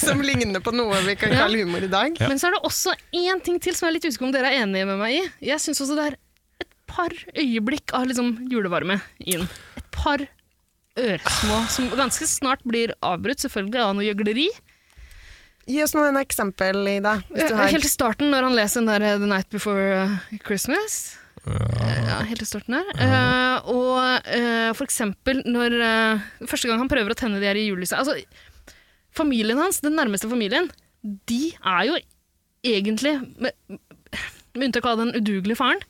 S1: Som ligner på noe vi kan
S4: Ja.
S1: kalle humor i dag.
S2: Ja.
S4: Men så er det også én ting til som jeg er litt usikker på om dere er enige med meg i. Jeg syns også det er et par øyeblikk av liksom julevarme inn. Et par ørsmå som ganske snart blir avbrutt, selvfølgelig, av noe gjøgleri.
S1: Gi oss noen eksempel, Ida. Hvis du har.
S4: Helt i starten, når han leser den der eh, 'The Night Before eh, Christmas'. Eh, Ja, helt i starten her. Eh, og eh, for eksempel når eh, Første gang han prøver å tenne de her i julelyset Altså, familien hans, den nærmeste familien, de er jo egentlig Med, med unntak av den udugelige faren,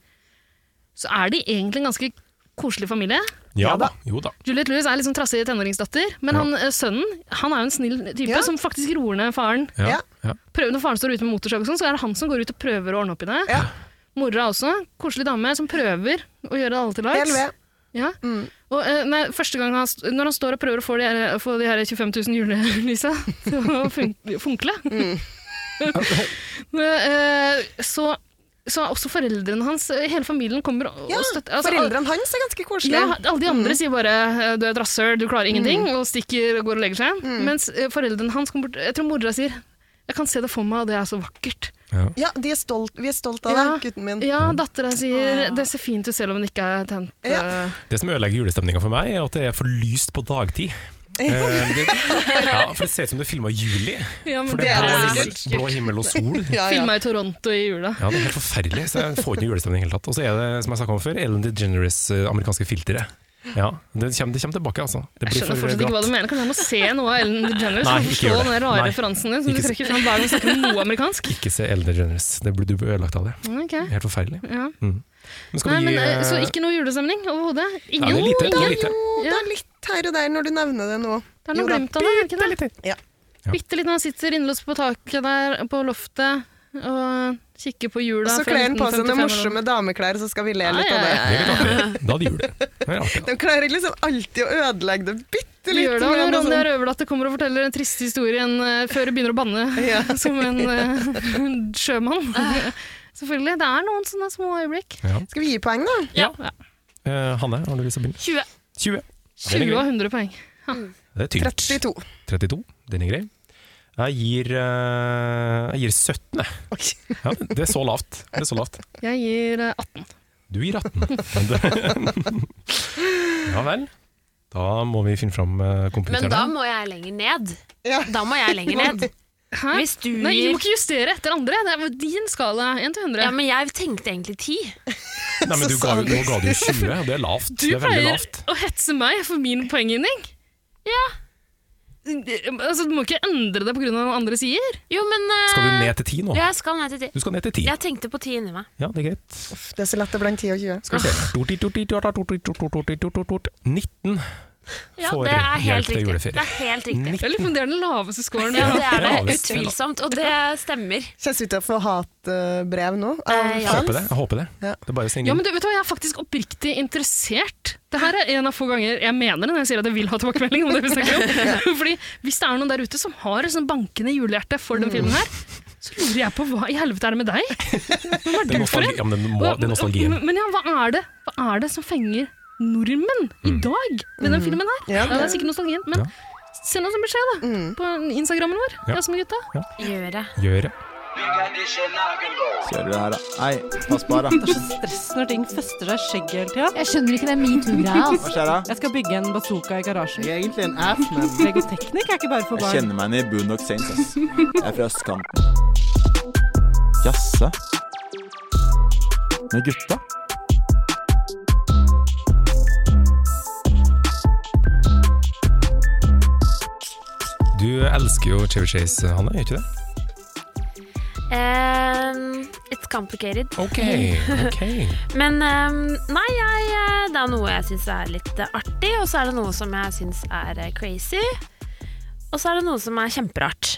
S4: så er de egentlig en ganske koselig familie.
S2: Ja da. Jo da.
S4: Juliette Louis er litt sånn trassig tenåringsdatter, men han, eh, sønnen han er jo en snill type
S1: Ja.
S4: som faktisk roer ned faren
S2: Ja.
S1: Ja.
S2: Ja.
S4: prøver, når faren står ute med motorsag, og sånn, så er det han som går ut og prøver å ordne opp i det.
S1: Ja.
S4: Mora også. Koselig dame som prøver å gjøre alle til
S1: Del
S4: lags.
S1: ved.
S4: Ja.
S1: Mm.
S4: Og, eh, nei, første gang han, st- når han står og prøver å få de her, få de her 25 000 julelysa til å fun funkle,
S1: Mm.
S4: Men, eh, så, så er også foreldrene hans, eh, hele familien kommer og
S1: Ja,
S4: og støtter. altså,
S1: Foreldrene hans er ganske koselige.
S4: ja, alle de
S1: Mm.
S4: andre sier bare eh, 'du er et rasshøl, du klarer ingenting', og stikker og går og legger seg.
S1: Mm.
S4: Mens eh, foreldrene hans kommer bort Jeg tror mora sier 'jeg kan se det for meg, og det er så vakkert'.
S1: Ja, de er stolt, vi er stolt av deg, gutten min.
S4: Ja, dattera sier 'det ser fint ut selv om det ikke er tent'.
S1: Ah. Ja.
S4: eh,
S2: Det som ødelegger julestemninga for meg, er at det er for lyst på dagtid. Eh, det, ja, for det ser ut som det er filma i juli.
S4: Ja, men
S2: For
S4: det
S2: det er blå
S4: er
S2: himmel, blå himmel og sol.
S1: Ja, ja.
S4: Filma i Toronto i jula.
S2: Ja, det er helt forferdelig, så jeg får ikke noe julestemning i det hele tatt. Og så er det, som jeg snakka om før, Ellen DeGeneres eh, amerikanske filteret. Ja, det kommer, det kommer tilbake, altså. Det blir
S4: Jeg skjønner
S2: for
S4: fortsatt ikke hva
S2: glatt.
S4: du mener. Kan jeg må se noe av Ellen DeGeneres
S2: Nei,
S4: for å
S2: ikke
S4: forstå
S2: gjør det.
S4: den rare
S2: Nei.
S4: referansen din? Som du
S2: Ikke se-
S4: trekker fram hver gang du snakker om noe amerikansk?
S2: Ikke se Ellen DeGeneres, det blir, du blir ødelagt av det.
S4: Ok,
S2: Helt forferdelig.
S4: ja.
S2: Men skal
S4: Nei,
S2: vi
S4: men,
S2: gi
S4: eh, så
S2: eh,
S4: ikke noe julestemning overhodet?
S2: ja, det
S4: Ingen?
S2: er lite, det er
S4: ingen.
S2: lite.
S1: Jo, det
S4: Ja.
S1: er litt her og der når du nevner det nå.
S4: Det er
S1: Jo
S4: noe
S1: da.
S4: glemt av det, er det ikke det?
S1: Ja.
S2: Ja.
S4: Bitte litt når han sitter innelåst på taket der på loftet og kikker på
S1: Og
S4: jula.
S1: så
S4: fra
S1: kler han på seg noen
S4: 1955 eller
S1: morsomme dameklær, så skal vi le litt
S4: Ja,
S1: av
S4: ja,
S1: det.
S4: ja,
S2: Det er litt artig. Da er det jul. Det er artig, da.
S1: De klarer liksom alltid å ødelegge det bitte altså.
S4: Vi
S1: litt.
S4: gjør det, og Ronny er røverdatter kommer og forteller en trist historie en, eh, før du begynner å banne
S1: Ja.
S4: som en eh, sjømann. Selvfølgelig. Det er noen sånne små øyeblikk.
S1: Skal vi gi poeng, da?
S4: Ja.
S2: Eh, Hanne, har du lyst til å begynne?
S7: 20.
S2: 20. Den er
S4: 20
S2: grei.
S4: av 100 poeng.
S2: Det er tynt.
S1: 32.
S2: 32. Den er grei. Jeg gir, eh, jeg gir 17, jeg. Ja, det er så lavt. Det er så lavt.
S4: Jeg gir eh, 18.
S2: Du gir 18. ja vel. Da må vi finne fram eh,
S7: Men da
S2: computeren.
S7: må jeg lenger ned.
S1: Ja.
S7: Da må jeg lenger ned.
S4: Hæ?
S7: Hvis du
S4: Nei, du
S7: gir
S4: må ikke justere etter andre. Det er jo din skala. 1 til 100.
S7: Ja, men jeg tenkte egentlig 10.
S2: Nei, men du ga, jo- nå ga du jo 20, og det er lavt.
S4: Du
S2: det er veldig
S4: pleier
S2: lavt.
S4: å hetse meg for min poenggivning.
S7: Ja.
S4: Altså, du må ikke endre det pga. hva andre sier.
S7: Jo, men eh,
S2: Skal du ned til 10 nå?
S7: Ja, jeg skal ned til 10.
S2: Du skal ned til 10.
S7: Jeg tenkte på 10 inni meg.
S2: Ja, det er greit.
S1: Uff, Det er så lett det er blant 10 og 20.
S2: Skal vi se. Tort, tort, tort, tort, tort, tort, tort, tort, tort, tort, tort. 19.
S7: Ja,
S2: Får
S7: det er helt
S2: hjelp til
S7: riktig.
S2: juleferie.
S7: Det er helt riktig.
S2: 19.
S4: Jeg lurer på om det er den laveste scoren.
S7: Ja, det
S2: Ja,
S7: er det.
S2: visst.
S7: Utvilsomt. Og det stemmer.
S1: Kjennes ut til å få hatbrev nå. Av
S7: Eh, ja.
S2: Jeg
S1: fans.
S2: håper det. Jeg håper det.
S1: Ja.
S2: Det er bare å
S4: Ja,
S2: sende
S4: men
S2: inn.
S4: du, vet du hva, Jeg er faktisk oppriktig interessert. Det her er en av få ganger jeg mener det når jeg sier at jeg vil ha tilbakemelding. om det vi snakker om. Fordi Hvis det er noen der ute som har et sånn bankende julehjerte for den filmen, her, så lurer jeg på hva i helvete er det med deg? Hvem er
S2: Det er
S4: du for
S2: nostalgi.
S4: en?
S2: Ja, men det må- det er nostalgien.
S4: Men ja, hva er det, hva er det som fenger nordmenn i dag med den filmen her?
S1: Mm. Ja, Mm.
S4: Ja, det er sikkert nostalgien, men
S2: Mm. Ja.
S4: Send oss en beskjed da, på Instagrammen vår.
S2: Ja.
S4: Ja. Gutta.
S3: Gjør det.
S2: Gjør det.
S8: Kjører det her, da. Nei, pass på her, da.
S9: Det er så stress når ting fester seg i skjegget hele tida.
S6: Jeg skjønner ikke den metoo-greia. altså.
S8: Hva skjer da?
S9: Jeg skal bygge en bazooka i garasjen.
S8: Jeg er egentlig en ass, men
S9: Legoteknikk er ikke bare for
S8: Jeg
S9: barn.
S8: kjenner meg igjen i Boondock Saints, ass. Jeg er fra østkanten. Jasse? Med gutta?
S2: Du elsker jo Chevy Chase, Hanne, gjør ikke det?
S3: Ehm, it's complicated.
S2: Ok, ok.
S3: Men ehm, nei, jeg, eh, det er noe jeg syns er litt eh, artig, og så er det noe som jeg syns er eh, crazy. Og så er det noe som er kjemperart.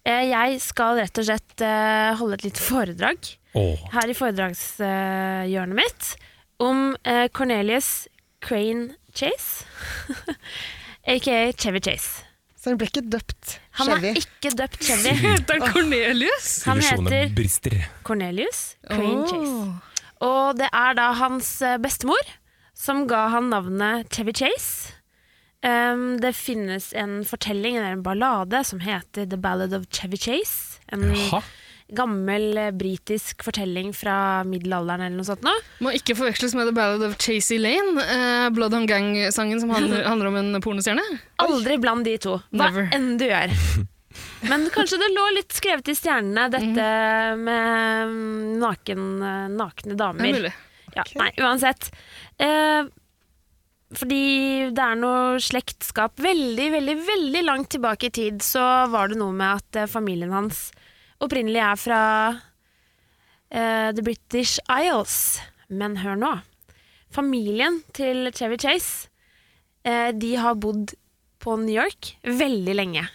S3: Eh, Jeg skal rett og slett eh, holde et lite foredrag
S2: Åh,
S3: her i foredragshjørnet mitt om eh, Cornelius Crane Chase, aka Chevy Chase.
S1: Så han ble ikke døpt
S3: Han
S1: Chevy.
S3: er ikke døpt Chevy.
S4: Heter han Cornelius?
S3: Han
S2: illusjonene
S3: heter
S2: brister.
S3: Cornelius Crane Chase.
S4: Åh.
S3: Og det er da hans eh, bestemor som ga han navnet Chevy Chase. Um, det finnes en fortelling, eller en ballade, som heter The Ballad of Chevy Chase. En
S2: Jaha.
S3: gammel eh, britisk fortelling fra middelalderen eller noe sånt. Nå.
S4: Må ikke forveksles med The Ballad of Chasey Lane, eh, Blood on Gang-sangen som handler, handler om en pornostjerne.
S3: Aldri bland de to, hva
S4: Never.
S3: enn du gjør. Men kanskje det lå litt skrevet i stjernene, dette med mm, naken, nakne
S4: Det er
S3: damer.
S4: mulig.
S3: Ja, Nei, uansett. Eh, fordi det er noe slektskap Veldig, veldig, veldig langt tilbake i tid så var det noe med at eh, familien hans opprinnelig er fra eh, The British Isles. Men hør nå. Familien til Chevy Chase eh, de har bodd på New York veldig lenge.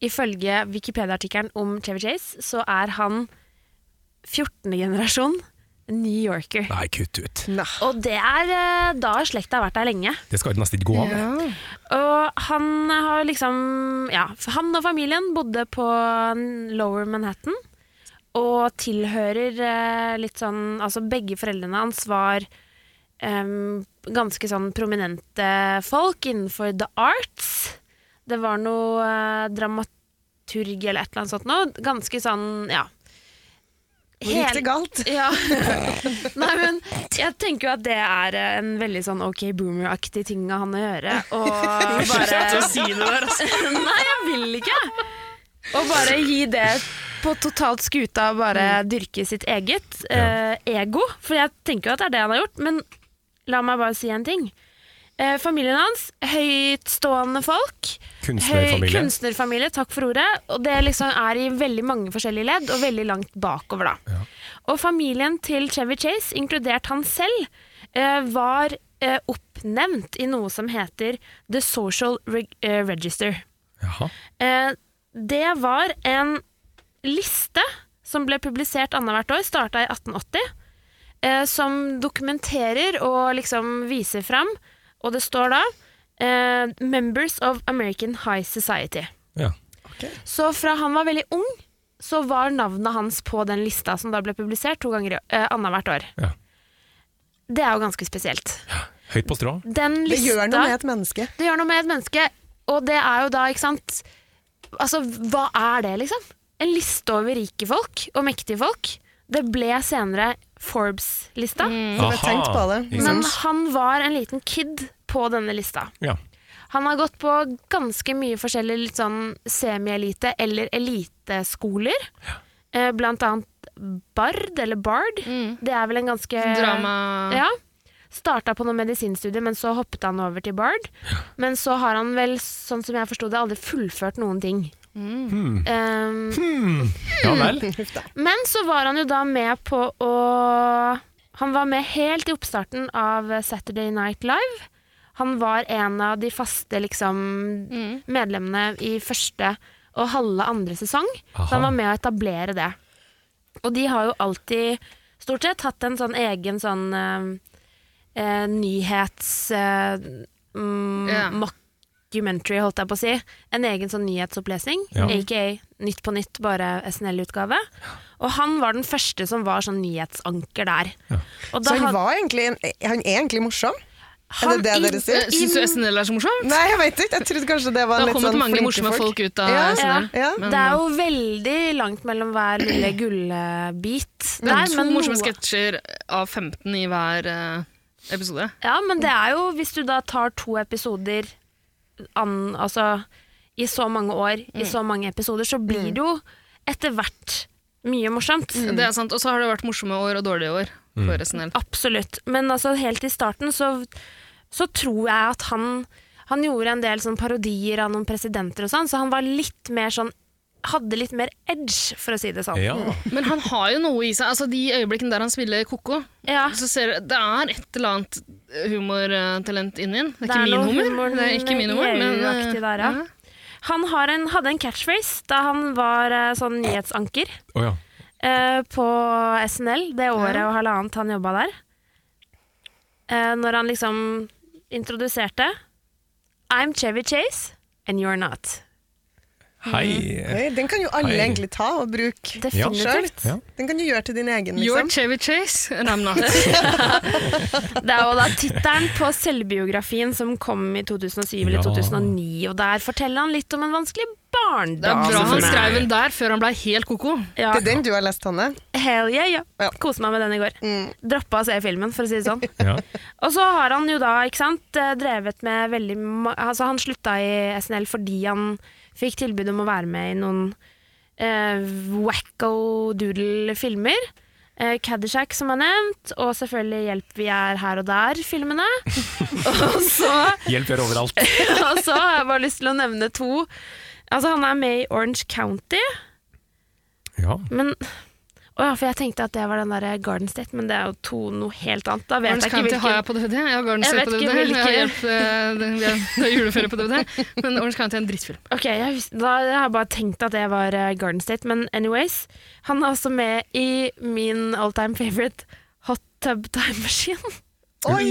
S3: Ifølge Wikipedia-artikkelen om Chevy Chase så er han 14. generasjon New Yorker.
S2: Nei, kutt ut.
S3: Og det er eh, da slekta har vært der lenge.
S2: Det skal jo nesten ikke gå an.
S4: Ja.
S3: Og han har liksom Ja, han og familien bodde på Lower Manhattan. Og tilhører eh, litt sånn Altså begge foreldrene hans var em, ganske sånn prominente folk innenfor the arts. Det var noe eh, dramaturg eller et eller annet sånt noe. Ganske sånn, ja.
S1: Hvor gikk det galt?
S3: Ja. Nei, men jeg tenker jo at det er eh, en veldig sånn OK boomer-aktig ting av han å gjøre. Og bare Nei, jeg vil ikke! Og bare gi det på totalt skuta, og bare dyrke sitt eget eh, ego. For jeg tenker jo at det er det han har gjort, men la meg bare si en ting. Eh, familien hans, høytstående folk. Høy,
S2: Kunstnerfamilie.
S3: kunstnerfamilie, takk for ordet. Og det liksom er i veldig mange forskjellige ledd, og veldig langt bakover, da. Og familien til Chevy Chase, inkludert han selv, eh, var eh, oppnevnt i noe som heter The Social Reg eh, Register.
S2: Jaha.
S3: Eh, det var en liste som ble publisert annethvert år, starta i 1880, eh, som dokumenterer og liksom viser fram, og det står da eh, 'Members of American High Society'.
S2: Ja.
S3: Så fra han var veldig ung, så var navnet hans på den lista som da ble publisert to ganger i- eh, annethvert år.
S2: Ja.
S3: Det er jo ganske spesielt.
S2: Høyt på strå.
S3: Den
S1: Det
S3: lista
S1: gjør noe med et menneske.
S3: det gjør noe med et menneske, og det er jo da, ikke sant Altså, hva er det, liksom? En liste over rike folk og mektige folk. Det ble senere Forbes-lista,
S2: Mm.
S1: Jeg har tenkt på det.
S2: Ikke
S3: men
S2: sant?
S3: han var en liten kid på denne lista.
S2: Ja.
S3: Han har gått på ganske mye forskjellige litt sånn semi-elite eller eliteskoler. Eh, Blant annet Bard, eller Bard. Det er vel en ganske
S4: Drama
S3: ja. Starta på noe medisinstudie, men så hoppet han over til Bard. Men så har han vel, sånn som jeg forsto det, aldri fullført noen ting. Um,
S2: ja
S1: Mm.
S2: vel.
S3: men så var han jo da med på å Han var med helt i oppstarten av Saturday Night Live. Han var en av de faste liksom, medlemmene i første og halve andre sesong. Så han
S2: Aha.
S3: var med å etablere det. Og de har jo alltid stort sett hatt en sånn egen sånn eh, eh, nyhets... eh, mm,
S4: Ja.
S3: Documentary, holdt jeg på å si. En egen sånn nyhetsopplesning,
S2: Ja.
S3: aka Nytt på nytt, bare SNL-utgave. Og han var den første som var sånn nyhetsanker der. Og da
S1: Så han
S3: had-
S1: var egentlig en, Han er egentlig morsom. Er det det dere sier?
S4: Eh, Syns du SNL er så morsomt?
S1: Nei, jeg vet ikke. Jeg trodde kanskje det var
S4: Det har
S1: litt
S4: kommet
S1: sånn
S4: mange
S1: flinke
S4: morsomme folk ut av
S1: ja.
S4: SNL.
S1: Ja.
S4: Men-
S3: Det er jo veldig langt mellom hver lille gullbit.
S4: Det
S3: der,
S4: er to
S3: men
S4: morsomme
S3: noe-
S4: sketsjer av 15 i hver eh, episode.
S3: Ja, men det er jo hvis du da tar to episoder an, altså, i så mange år, i så mange episoder, så blir det jo etter hvert mye morsomt.
S4: Det er sant. Og så har det vært morsomme år og dårlige år
S3: Mm.
S4: for SNL.
S3: Absolutt. Men altså, helt i starten så, så tror jeg at han Han gjorde en del sånn parodier av noen presidenter og sånn, så han var litt mer sånn Hadde litt mer edge, for å si det sånn.
S2: Ja.
S4: Men han har jo noe i seg. Altså, de øyeblikkene der han spiller koko,
S3: Ja.
S4: så ser det er et eller annet humortalent inni den. Det er
S3: Det er
S4: ikke
S3: noe
S4: min humor.
S3: humor-
S4: Det er ikke min humor, men eh,
S3: EU-aktig der, ja. Han har en, hadde en catchphrase da han var eh, sånn nyhetsanker
S2: Å ja.
S3: eh, på SNL det året og halvannet han jobba der. Eh, når han liksom introduserte I'm Chevy Chase, and you're not.
S2: Hei.
S1: Oi, den kan jo alle
S2: Hei.
S1: egentlig ta og bruke selv.
S3: Definitivt.
S2: Ja.
S1: Den kan du gjøre til din egen,
S4: You're
S1: liksom.
S4: Chevy Chase, altså, and I'm not.
S3: Det er jo da tittelen på selvbiografien som kom i 2007 eller
S2: Ja.
S3: 2009, og der forteller han litt om en vanskelig barndom.
S4: Det er bra han
S2: selvfølgelig.
S4: skrev den der før han ble helt koko.
S3: Ja.
S1: Det er den du har lest, Hanne.
S3: Hell yeah, ja.
S1: Ja.
S3: Koste meg med den i går.
S4: Mm.
S3: Droppa å se filmen, for å si det sånn.
S2: Ja.
S3: Og så har han jo da, ikke sant, eh, drevet med veldig ma Altså, han slutta i SNL fordi han fikk tilbud om å være med i noen eh, wacko doodle-filmer. Eh, Caddyshack, som er nevnt, og selvfølgelig Hjelp vi er her og der-filmene. og så
S2: Hjelp gjør overalt.
S3: og så har jeg bare lyst til å nevne to. Altså, han er med i Orange County,
S2: Ja.
S3: men Å ja, for jeg tenkte at det var den der Garden State, men det er jo to noe helt annet. Da vet
S4: Orange
S3: jeg ikke
S4: County har jeg
S3: hvilken.
S4: på DVD. Jeg har Garden
S3: Jeg
S4: State
S3: vet
S4: på
S3: ikke
S4: DVD. Jeg har
S3: hvilke-
S4: hjelp, eh, det- vi har- det er juleferie på DVD. Men Orange County er en drittfilm.
S3: Ok, jeg, hus- da jeg har jeg bare tenkt at det var eh, Garden State, men anyways. Han er også med i min all time favorite Hot Tub Time Machine.
S1: Oi!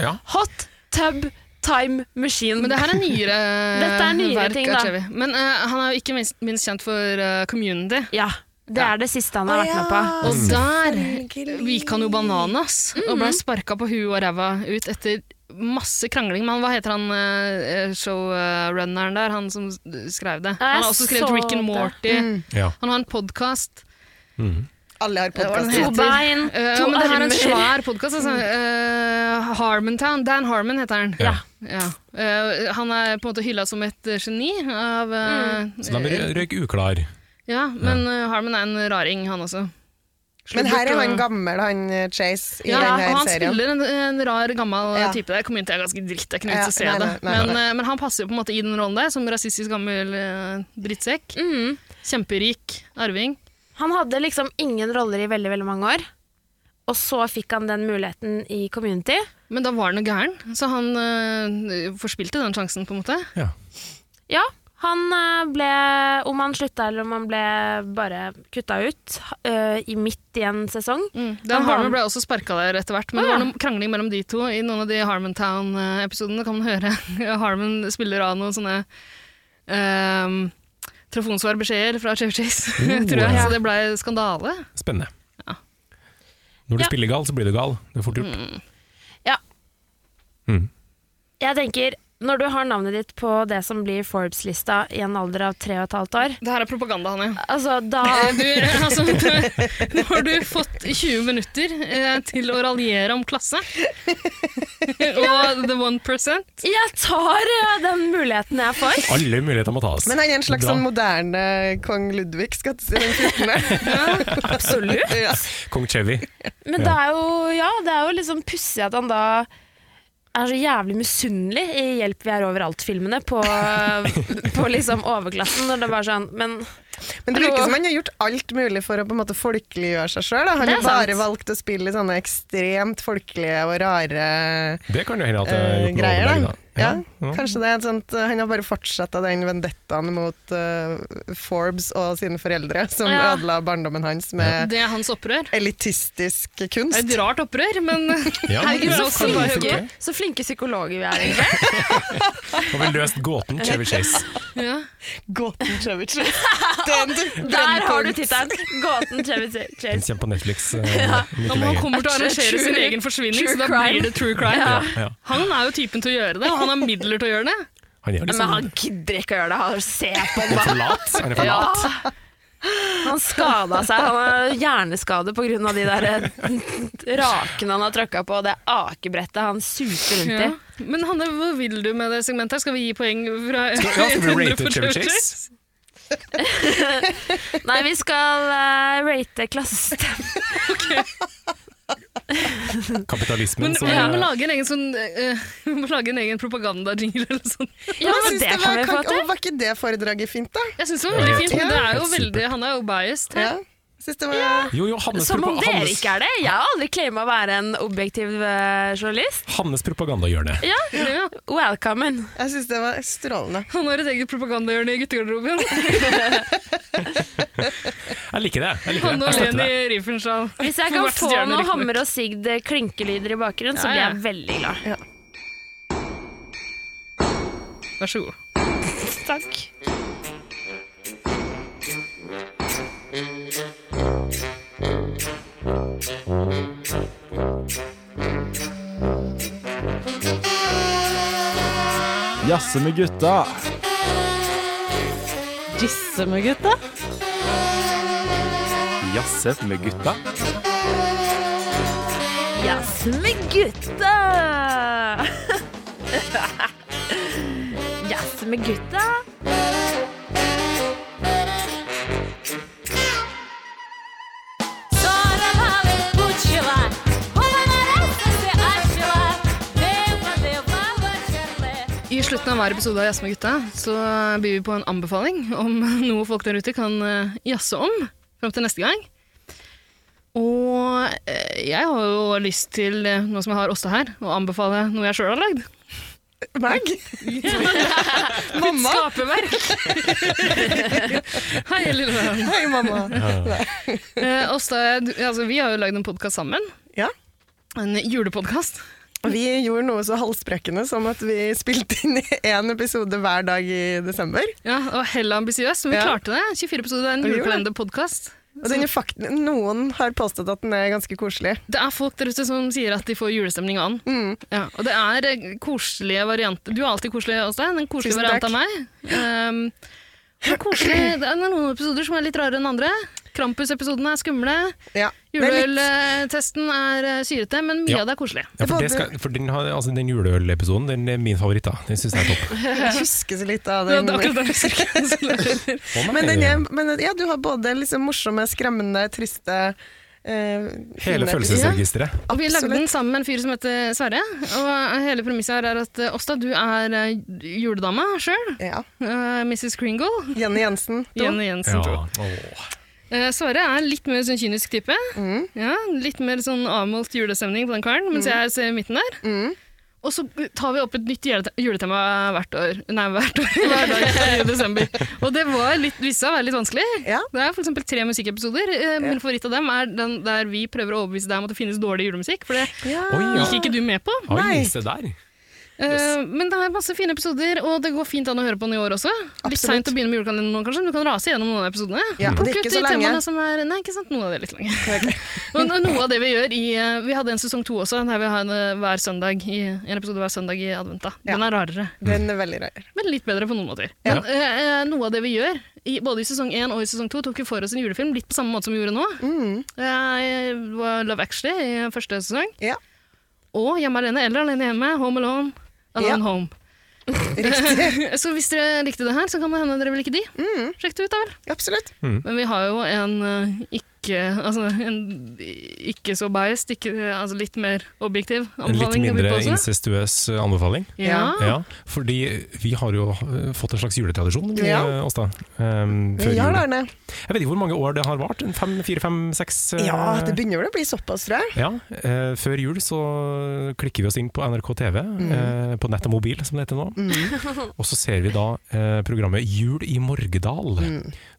S2: Ja.
S3: Hot Tub Time Machine.
S4: Men det her er nyere,
S3: Dette er nyere
S4: verk
S3: ting,
S4: av
S3: da.
S4: Chevy. Men eh, han er jo ikke minst, minst kjent for eh, Community.
S3: ja, det er det siste han har vært med på.
S4: Og der gikk han jo bananas og
S3: Mm.
S4: ble sparka på huet og ræva ut etter masse krangling. Men hva heter han eh, showrunneren der, han som skrev det?
S3: Ja, jeg
S4: Han har også skrevet
S3: så
S4: Rick and
S3: det.
S4: Morty.
S2: Ja. Mm.
S4: Han har en podkast.
S1: Alle har
S4: Hva
S1: podkast.
S3: To
S4: heter den?
S3: bein, to
S4: Eh, men det her er en
S3: armer. Mm.
S4: svær podkast. Altså, eh, Harmontown. Dan Harmon heter han.
S2: Ja.
S4: Ja. Eh, han er på en måte hylla som et eh, geni av eh,
S3: Mm.
S2: Så de rø- røyk uklar.
S4: Ja, men eh, Harmon er en raring, han også.
S1: Men her er
S4: Sludder
S1: han
S4: og-
S1: gammel, han eh, Chase, i
S4: Ja,
S1: denne
S4: og han
S1: serien.
S4: spiller en, en rar, gammel
S1: Ja.
S4: type der. Community er ganske dritt, jeg kunne
S1: Ja,
S4: ikke se
S1: nei,
S4: det.
S1: nei, nei,
S4: men, eh, men han passer jo på en måte i den rollen der, som rasistisk gammel eh, drittsekk.
S1: Mm.
S4: Kjemperik arving.
S3: Han hadde liksom ingen roller i veldig, veldig mange år. Og så fikk han den muligheten i Community.
S4: Men da var han jo gæren, så han eh, forspilte den sjansen, på en måte.
S2: Ja.
S3: Ja, han eh, ble, om han slutta eller om han ble bare kutta ut, eh, i midt i en sesong.
S4: Dan
S3: var-
S4: Harmon ble også sparka der etter hvert, men
S3: Å,
S4: det var
S3: ja.
S4: noen krangling mellom de to. I noen av de Harmontown-episodene kan man høre Harmon spiller av noen sånne um, telefonsvarbeskjeder fra Chevy Chase,
S2: Oh,
S4: tror jeg.
S2: ja.
S4: Så det blei skandale.
S2: Spennende. Når du
S3: Ja.
S2: spiller gal, så blir du gal. Det er fort gjort.
S1: Mm.
S3: Jeg tenker, når du har navnet ditt på det som blir Forbes-lista i en alder av tre og et halvt år,
S4: Det her er propaganda, Hanne.
S3: altså da
S4: Du, altså, du, nå har du fått 20 minutter eh, til å raljere om klasse. Og the one percent.
S3: Jeg tar eh, den muligheten jeg får.
S2: Alle muligheter må tas.
S1: Men han er en slags
S2: Bra.
S1: sånn moderne kong Ludvig, skal jeg si, den 14.
S3: Absolutt.
S1: ja.
S2: Kong Chevy.
S3: Men det er jo, ja, det er jo liksom pussig at han da er så jævlig misunnelig i Hjelp vi er overalt-filmene på, på liksom overklassen. Når det var sånn, men
S1: Men det virker
S3: Hallo.
S1: som han har gjort alt mulig for å på en måte folkeliggjøre seg sjøl. Han
S3: Det
S1: har
S3: er
S1: bare
S3: sant.
S1: valgt å spille i sånne ekstremt folkelige og rare
S2: Det kan jo hende at det er
S1: eh,
S2: gjort noe
S1: greier.
S2: overlegg,
S1: Da. Ja,
S2: Ja.
S1: Kanskje det er et sånt eh, Han har bare fortsatt av den vendettaen mot eh, Forbes og sine foreldre, som
S3: Ja.
S1: ødela barndommen hans med
S4: Det er hans opprør.
S1: elitistisk
S4: Det er
S1: kunst.
S4: et rart opprør, men
S2: Ja, men
S3: herregud,
S2: det
S3: så
S4: så
S2: kan
S4: flinke.
S2: funke.
S3: flinke, så flinke psykologer vi er, egentlig.
S2: Har vi løst gåten Chevy Chase?
S4: ja.
S1: Gåten Chevichet. Den, den
S3: Der har du
S1: punkt.
S3: tittelen! Gåten Chevy
S2: Den kommer på Netflix eh, mye
S4: Om han
S2: lenger.
S4: kommer til å arrangere sin
S3: True-
S4: egen forsvinning,
S3: true
S4: så da
S3: crime.
S4: blir det true crime.
S2: Ja, ja.
S4: Han er jo typen til å gjøre det, og han har midler til å gjøre det.
S2: Han er
S3: Men
S2: liksom
S3: han gidder ikke å gjøre det. Han ser på
S2: han er for lat. Han er for
S3: Ja.
S2: lat.
S3: Han skada seg. Han har hjerneskade pga. de der eh, rakene han har tråkka på, og det akebrettet han super rundt i.
S4: Ja. Men Hanne, hva vil du med det segmentet? her? Skal vi gi poeng fra
S2: Skal, ja, skal vi
S4: 100
S2: rate
S4: for
S2: Chevy
S4: Chevy
S2: Chase?
S3: Nei, vi skal eh, rate klassestemmen.
S2: Kapitalismen
S4: Men
S2: som
S4: vi
S2: ja,
S4: må lage en egen sånn eh, Vi må lage en egen propagandajingle eller sånn.
S3: Ja,
S1: Jeg
S3: men
S1: synes
S3: det
S1: det
S3: kan
S1: var-
S3: vi få
S1: kan-
S3: til.
S1: Å, Var ikke det foredraget fint, da?
S4: Jeg syns det var veldig
S2: Ja,
S4: fint, men det er jo
S2: helt
S4: veldig
S2: supert.
S4: Han er jo biased.
S1: Ja. Synes det var...
S2: Jo, jo, Hannes,
S3: Som om
S2: propa-
S3: dere
S2: Hannes,
S3: ikke er det. Jeg har aldri claima å være en objektiv eh, journalist.
S2: Hannes propagandahjørne.
S3: Ja,
S4: Ja.
S3: Welcome.
S1: Jeg syns det var strålende.
S4: Han har et eget propagandahjørne i guttegarderoben.
S2: Jeg liker det. Jeg liker
S4: Han
S2: det.
S4: og
S2: Jeg støtter
S4: Leni
S2: det.
S4: Riefenstahl.
S3: Hvis jeg kan få noe hammer og sigd eh, klinkelyder i bakgrunnen, så
S4: Ja,
S3: blir
S4: ja.
S3: jeg veldig glad.
S4: Vær så god.
S3: Takk.
S8: Jazze med gutta.
S9: Jisse med gutta.
S8: Jazze med gutta.
S3: Jazz med gutta! Jazz med gutta.
S4: I slutten av hver episode av Jazz med gutta så byr vi på en anbefaling om noe folk der ute kan eh, jazze om fram til neste gang. Og eh, jeg har jo lyst til, eh, nå som jeg har Åsta her, å anbefale noe jeg sjøl har lagd.
S1: Mag? mamma?
S4: Skaperverk! Hei, lille venn.
S1: Hei, mamma.
S4: Eh, Åsta, du- altså, vi har jo lagd en podkast sammen.
S1: Ja.
S4: En julepodkast.
S1: Vi gjorde noe så halsbrekkende som at vi spilte inn én episode hver dag i desember.
S4: Ja, det var hella ambisiøst, men vi
S1: Ja.
S4: klarte det. 24 episoder er en
S1: Vi gjorde det.
S4: julekalenderpodkast.
S1: Og den er fakt noen har påstått at den er ganske koselig.
S4: Det er folk der ute som sier at de får julestemning av den.
S1: Mm.
S4: Ja, og det er eh, koselige varianter. Du er alltid koselig, Åstein. En koselig
S1: Tusen
S4: variant
S1: takk.
S4: av meg. Um, det, er koselig. det er noen episoder som er litt rarere enn andre. Krampus-episodene er skumle.
S1: Ja. det er litt-
S4: Juleøltesten er eh, syrete, men mye
S2: Ja.
S4: av det er koselig.
S2: Ja, for, det skal, for den, har- altså, den juleølepisoden den er min favoritt. da Den syns jeg er topp.
S1: Jeg husker så litt av
S4: Det
S1: den.
S4: er akkurat det jeg husker.
S2: Å, nei.
S1: Men, den er, men ja, du har både liksom morsomme, skremmende, triste eh,
S2: Hele
S1: fine-
S2: følelsesregisteret.
S4: Og Vi lagde
S1: Absolutt.
S4: den sammen med en fyr som heter Sverre. Og hele premisset her er at eh, Åsta, du er eh, juledama sjøl.
S1: Ja.
S4: Mrs. Kringle.
S1: Jenny Jensen. to.
S4: Jenny Jensen,
S2: Ja.
S4: tror jeg.
S2: åh.
S4: Eh, Sverre er litt mer sånn kynisk type.
S1: Mm.
S4: Ja, litt mer sånn avmålt julestemning på den karen, mens jeg ser i midten der.
S1: Mm.
S4: Og så tar vi opp et nytt jule- juletema hvert år. Nei, hvert år. Hver dag i desember. Og det var litt, visse var litt vanskelig.
S1: Ja.
S4: Det er for eksempel tre musikkepisoder. Eh, Min favoritt av dem er den der vi prøver å overbevise deg om at det finnes dårlig julemusikk, for det
S2: Oi, ja.
S4: gikk ikke du med på.
S2: Oi,
S1: Nei.
S2: se der.
S4: Eh, Men det er masse fine episoder, og det går fint an å høre på den i år også. Litt
S1: Absolutt.
S4: seint å begynne med julekalenderen nå, kanskje, men du kan rase gjennom noen av episodene.
S1: Ja, og det er
S4: Plukke
S1: ikke
S4: ut
S1: så
S4: de
S1: lenge.
S4: temaene som er Nei, ikke sant, noe av det er litt lenge. Men noe av det vi gjør i eh, Vi hadde en sesong to også, der vi har en, eh, hver søndag i, en episode hver søndag i advent. da. Den er rarere,
S1: Den er veldig rar.
S4: men litt bedre på noen måter. Men eh, eh, noe av det vi gjør, i, både i sesong én og i sesong to, tok vi for oss en julefilm litt på samme måte som vi gjorde nå.
S1: Mm.
S4: Eh, det var Love Actually i første sesong.
S1: Ja.
S4: Og Hjemme alene eller Alene hjemme, Home Alone, Alone
S1: Ja.
S4: Home.
S1: Riktig. Mm.
S4: Så hvis dere likte det her, så kan det hende dere vil like de. Sjekk det ut, da vel.
S1: Absolutt.
S4: Men vi har jo en eh, ikke, altså, en ikke så biased, ikke, altså litt mer objektiv
S2: En litt
S4: kan vi
S2: mindre
S4: på også.
S2: incestuøs eh, anbefaling.
S4: Ja.
S2: Ja, fordi vi har jo eh, fått en slags juletradisjon, vi,
S1: Ja.
S2: eh, Åsta. ehm, før
S1: Ja,
S2: jul.
S1: Arne.
S2: Jeg vet ikke hvor mange år det har vart. En Fem, fire, fem, seks? eh,
S1: Ja, det begynner vel å bli såpass, tror jeg.
S2: Ja, eh, Før jul så klikker vi oss inn på NRK TV,
S4: Mm.
S2: eh, på nett og mobil som det heter nå. Og så ser vi da
S4: Mm.
S2: eh, programmet Jul i Morgedal,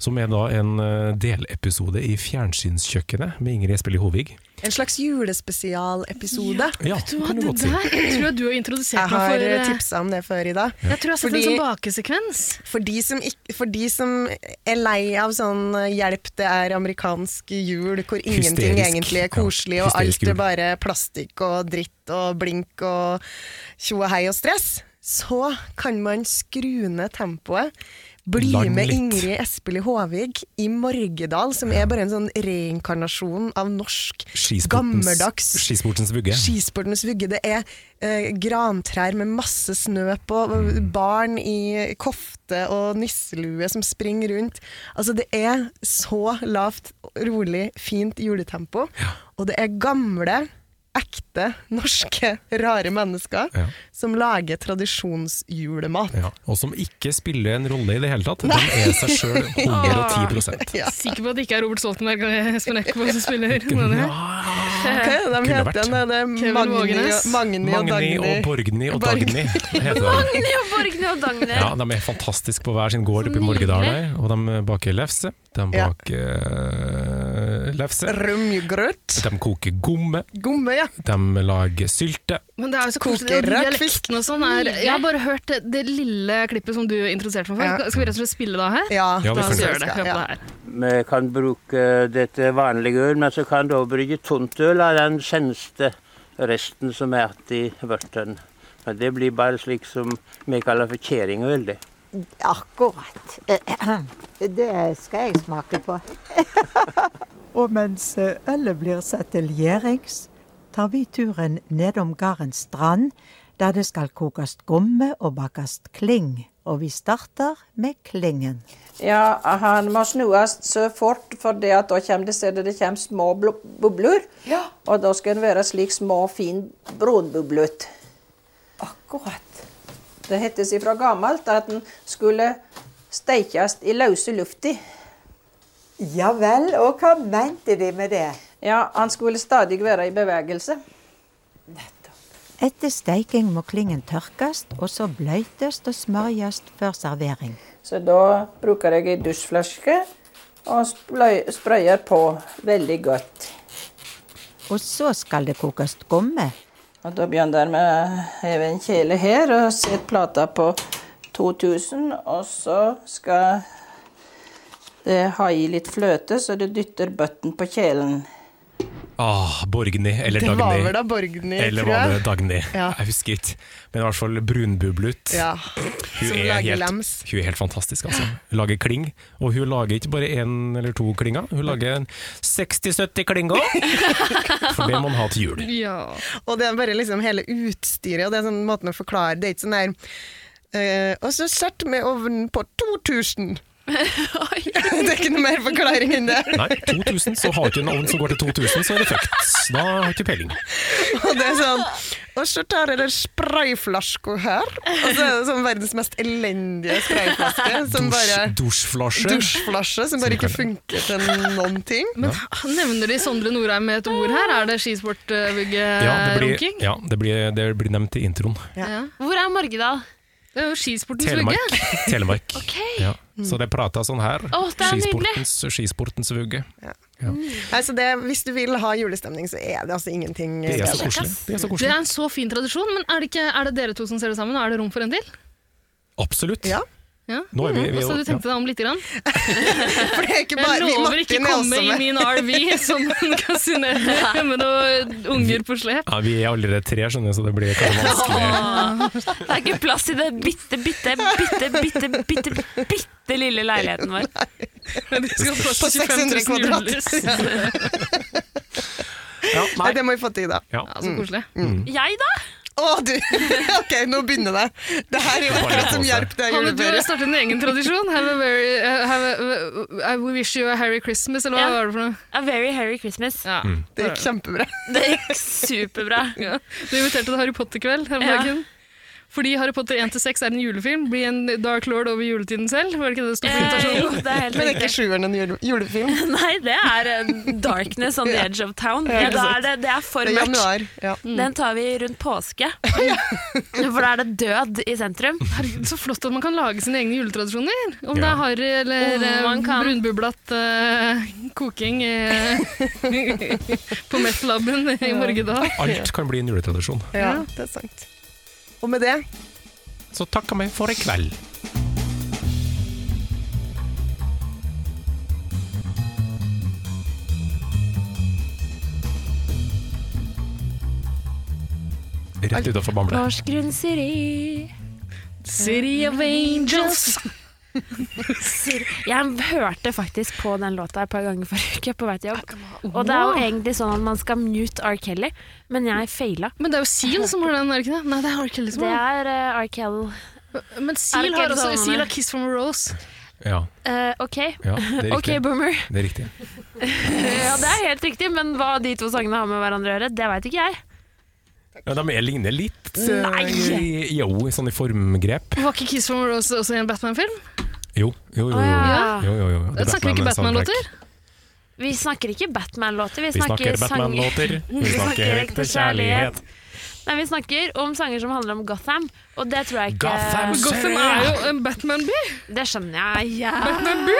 S2: som er da en eh, delepisode i Fjernsynskjøkkenet med Ingrid Espelid Hovig.
S1: En slags julespesialepisode.
S2: Ja,
S4: Vet du
S2: kan
S4: hva,
S2: du
S4: det
S2: godt si.
S4: der tror jeg du har introdusert
S1: Jeg
S4: meg
S1: har
S4: for. eh,
S1: tipsa om det før i dag.
S4: Jeg tror jeg har sett en sånn bakesekvens.
S1: For de, som ikk- for de som er lei av sånn eh, 'hjelp, det er amerikansk jul', hvor ingenting
S2: Hysterisk.
S1: egentlig
S2: Ja,
S1: er koselig, og
S2: hysterisk
S1: alt
S2: jul.
S1: er bare plastikk og dritt og blink og tjo og hei og stress, så kan man skru ned tempoet. Bli
S2: Lang
S1: med
S2: litt.
S1: Ingrid Espelid Håvig i Morgedal, som er bare en sånn reinkarnasjon av norsk,
S2: Skisportens-
S1: gammeldags
S2: Skisportens vugge.
S1: Skisportens vugge. Det er eh, grantrær med masse snø på,
S2: Mm.
S1: barn i kofte og nisselue som springer rundt. Altså, det er så lavt, rolig, fint juletempo. Og det er gamle, ekte, norske, rare mennesker
S2: Ja.
S1: som lager tradisjonsjulemat.
S2: Ja. Og som ikke spiller en rolle i det hele tatt. Den er seg sjøl 110
S1: Ja.
S4: Sikker på at det ikke er Robert Stoltenberg og Espen Eckbo som spiller noen her?
S1: Hva er det de
S2: Kunne vært.
S1: heter? Det er
S4: Kevin
S1: Magni,
S4: Vågenes.
S1: og- Magni og
S2: Magni
S1: Dagny.
S2: og Borgny og Dagny heter de.
S7: Borgny og Borgny og Dagny.
S2: Ja, de er fantastiske på hver sin gård oppe i Morgedalen. her, Og de eh, baker lefse. De
S1: Ja.
S2: baker eh, lefse.
S1: Rumgrøt.
S2: De koker gomme.
S1: Gomme, ja.
S2: De lager sylte.
S4: Men det er jo så koselig.
S1: Koker
S4: og de
S1: rakfisk.
S4: dialektene og sånn er Jeg har bare hørt det, det lille klippet som du introduserte meg for.
S1: Ja.
S4: Skal vi rett og slett spille da her?
S1: Ja,
S2: Ja, vi
S4: Da
S2: kan
S4: gjør det. Hør
S1: Ja.
S4: på det her.
S10: Vi eh, kan bruke eh, dette vanlige øl, men så kan du også bruke tuntøl av den seneste resten som er igjen i vørten. Men det blir bare slik som vi kaller for kjerringøl, det.
S11: Akkurat. Det skal jeg smake på. Og mens eh, ølet blir satt til gjerings, tar vi turen nedom gardens strand, der det skal kokes gomme og bakes kling. Og vi starter med klingen.
S12: Ja, han må snues så fort, for det at da kommer det stedet det kommer små blo- bobler. Og da skal den være slik små, fin brunbublet. Akkurat. Det hettes ifra gammelt at den skulle steikes i løse lufta.
S11: Ja vel, og hva mente de med det?
S12: Ja, han skulle stadig være i bevegelse.
S11: Etter steiking må klingen tørkes, og så bløtes og smørjes før servering.
S12: Så da bruker jeg ei dusjflaske og spløy- sprøyer på veldig godt.
S11: Og så skal det kokes gomme.
S12: Og da begynner jeg med å heve en kjele her og sette plata på 2000. Og så skal det ha i litt fløte, så du dytter bøtten på kjelen.
S2: Ah, Borgny eller
S1: Det
S2: Dagny.
S1: var vel da Borgny,
S2: Eller
S1: tror
S2: var
S1: jeg.
S2: det Dagny?
S1: Ja.
S2: Jeg husker ikke. Men i hvert fall brunbublut.
S1: Ja,
S2: Hun
S1: som
S2: er,
S1: lager
S2: helt,
S1: lems.
S2: hun er helt fantastisk, altså. Hun lager kling, og hun lager ikke bare én eller to klinger, hun lager en 60-70 klinger! For det må man ha til jul.
S1: Og det er bare liksom hele utstyret, og det er sånn måten å forklare Det er ikke sånn der eh, Og så satt vi ovnen på 2000! det er ikke noe mer forklaring enn det.
S2: Nei, 2000, så har du ikke en ovn som går til 2000, så er det fucked. Da har du ikke peiling.
S1: Og det er sånn Og så tar jeg den sprayflaska her, og så er det sånn verdens mest elendige sprayflaske. Som bare
S2: Dusj- Dusjflasje.
S1: Dusjflasje som bare ikke funker til noen ting.
S4: Men nevner de Sondre Norheim med et ord her? Er det
S2: Ja,
S4: Eh,
S2: det blir,
S4: skisportvugge-runking?
S2: ja det, blir, det blir nevnt i introen.
S3: Hvor er Morgedal?
S4: Det er jo skisportens vugge.
S2: Telemark. Telemark. Ja. Så det prata sånn her.
S3: Å, det er
S2: skisportens, skisportens vugge.
S1: Nei, så det, hvis du vil ha julestemning, så er det altså ingenting
S2: Det er så
S1: bedre.
S2: koselig. Det er så
S4: Det
S2: koselig.
S4: er en så fin tradisjon, men er det, ikke, er det dere to som ser det sammen, og er det rom for en til?
S2: Absolutt.
S1: Ja.
S4: Ja.
S2: Nå er vi, vi,
S4: Og så du
S2: ja.
S4: tenkte deg om litt? Grann.
S1: For det er ikke
S4: Jeg
S1: bare vi
S4: lover ikke
S1: Martin er
S4: komme
S1: også
S4: i
S1: med.
S4: min RV som en kasinelle med noen unger på slep.
S2: Ja, vi er allerede tre, skjønner jeg, så det blir kanskje vanskelig.
S3: Det er ikke plass i det bitte, bitte, bitte, bitte, bitte, bitte lille leiligheten vår.
S4: Men de skal få plass
S1: På
S4: til
S1: 600
S4: 25 000
S1: kvadrat.
S4: julelys.
S2: Ja,
S1: Nei,
S2: nei.
S1: det må vi få til, da.
S2: Ja.
S4: Ja, så koselig.
S1: Mm.
S3: Jeg, da?
S1: Å, du! Ok, nå begynner det. Det her er jo akkurat som hjelp det er
S4: Hanne, du har
S1: juleferie.
S4: startet en egen tradisjon. Have a very, uh, have a, uh, I wish you a Harry Christmas, eller hva
S3: Ja.
S4: var det for noe?
S3: A very hairy Christmas.
S4: Ja.
S1: Det gikk kjempebra.
S3: Det gikk superbra.
S4: Ja. Du inviterte til Harry Potter-kveld her om
S3: Ja.
S4: dagen. Fordi Harry Potter 1-6 er en julefilm, blir en Dark Lord over juletiden selv? Var det ikke det det sto på
S1: Eh,
S3: Eh,
S4: invitasjonen?
S1: Men er ikke sjueren en jule julefilm?
S3: Nei, det er eh, Darkness on the Edge of Town.
S1: Ja,
S3: Ja,
S1: ikke
S3: da
S1: sant.
S3: er det, det er for
S1: Det er januar,
S3: mørkt.
S1: ja. Mm.
S3: Den tar vi rundt påske. For da er det død i sentrum.
S4: Herregud, så flott at man kan lage sine egne juletradisjoner. Om det
S3: Ja.
S4: er harry eller
S3: Om man
S4: eh,
S3: kan.
S4: brunbublatt eh, koking eh, på Meth-laben i Morgedal.
S2: Alt kan bli en juletradisjon.
S1: Ja, det er sant. Og med det
S2: Så takker vi for i kveld. Rett utafor Bamble.
S3: Porsgrunn City.
S4: City of Angels.
S3: Jeg hørte faktisk på den låta et par ganger forrige uke på vei til jobb. Og det er jo egentlig sånn at man skal mute R. Kelly, men jeg feila.
S4: Men det er jo Seal som har den, er det ikke det? Nei, det er R. Kelly som
S3: Det
S4: har
S3: er eh, R. Kelly.
S4: den. Men Seal
S3: R.
S4: har
S3: Kelly som
S4: også
S3: har den.
S4: Seal har Kiss from a Rose.
S2: Ja,
S3: Eh, ok.
S2: ja, det er riktig.
S3: ok, boomer.
S2: Det er riktig.
S3: ja, det er helt riktig, men hva de to sangene har med hverandre å gjøre, det veit ikke jeg.
S2: Ja, de er- ligner litt. eh,
S3: Nei!
S2: i- Jo, i sånn i formgrep.
S4: Var ikke Kiss from a Rose også i en Batman-film?
S2: Jo, jo, jo. jo,
S3: ja.
S2: jo, jo, jo. Det er
S4: Snakker vi ikke
S2: Batman-soundtrack.
S4: Batman-låter?
S3: Vi snakker ikke Batman-låter, vi
S2: Vi
S3: snakker,
S2: snakker Batman-låter.
S3: sanger.
S2: Vi snakker ekte kjærlighet.
S3: Nei, vi snakker om sanger som handler om Gotham, og det tror jeg ikke
S2: Gotham City!
S4: Gotham er jo en Batman-by!
S3: Det skjønner jeg. Ja.
S4: Batman-by!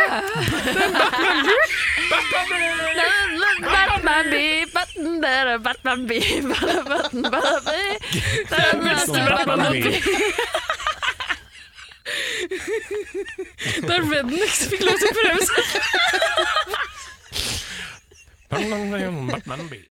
S3: Batman-by, Batman, dere, Batman-by, Batman-by, Batman-by.
S4: Der Rednecks fikk lov til å prøve seg.
S2: Batman-by.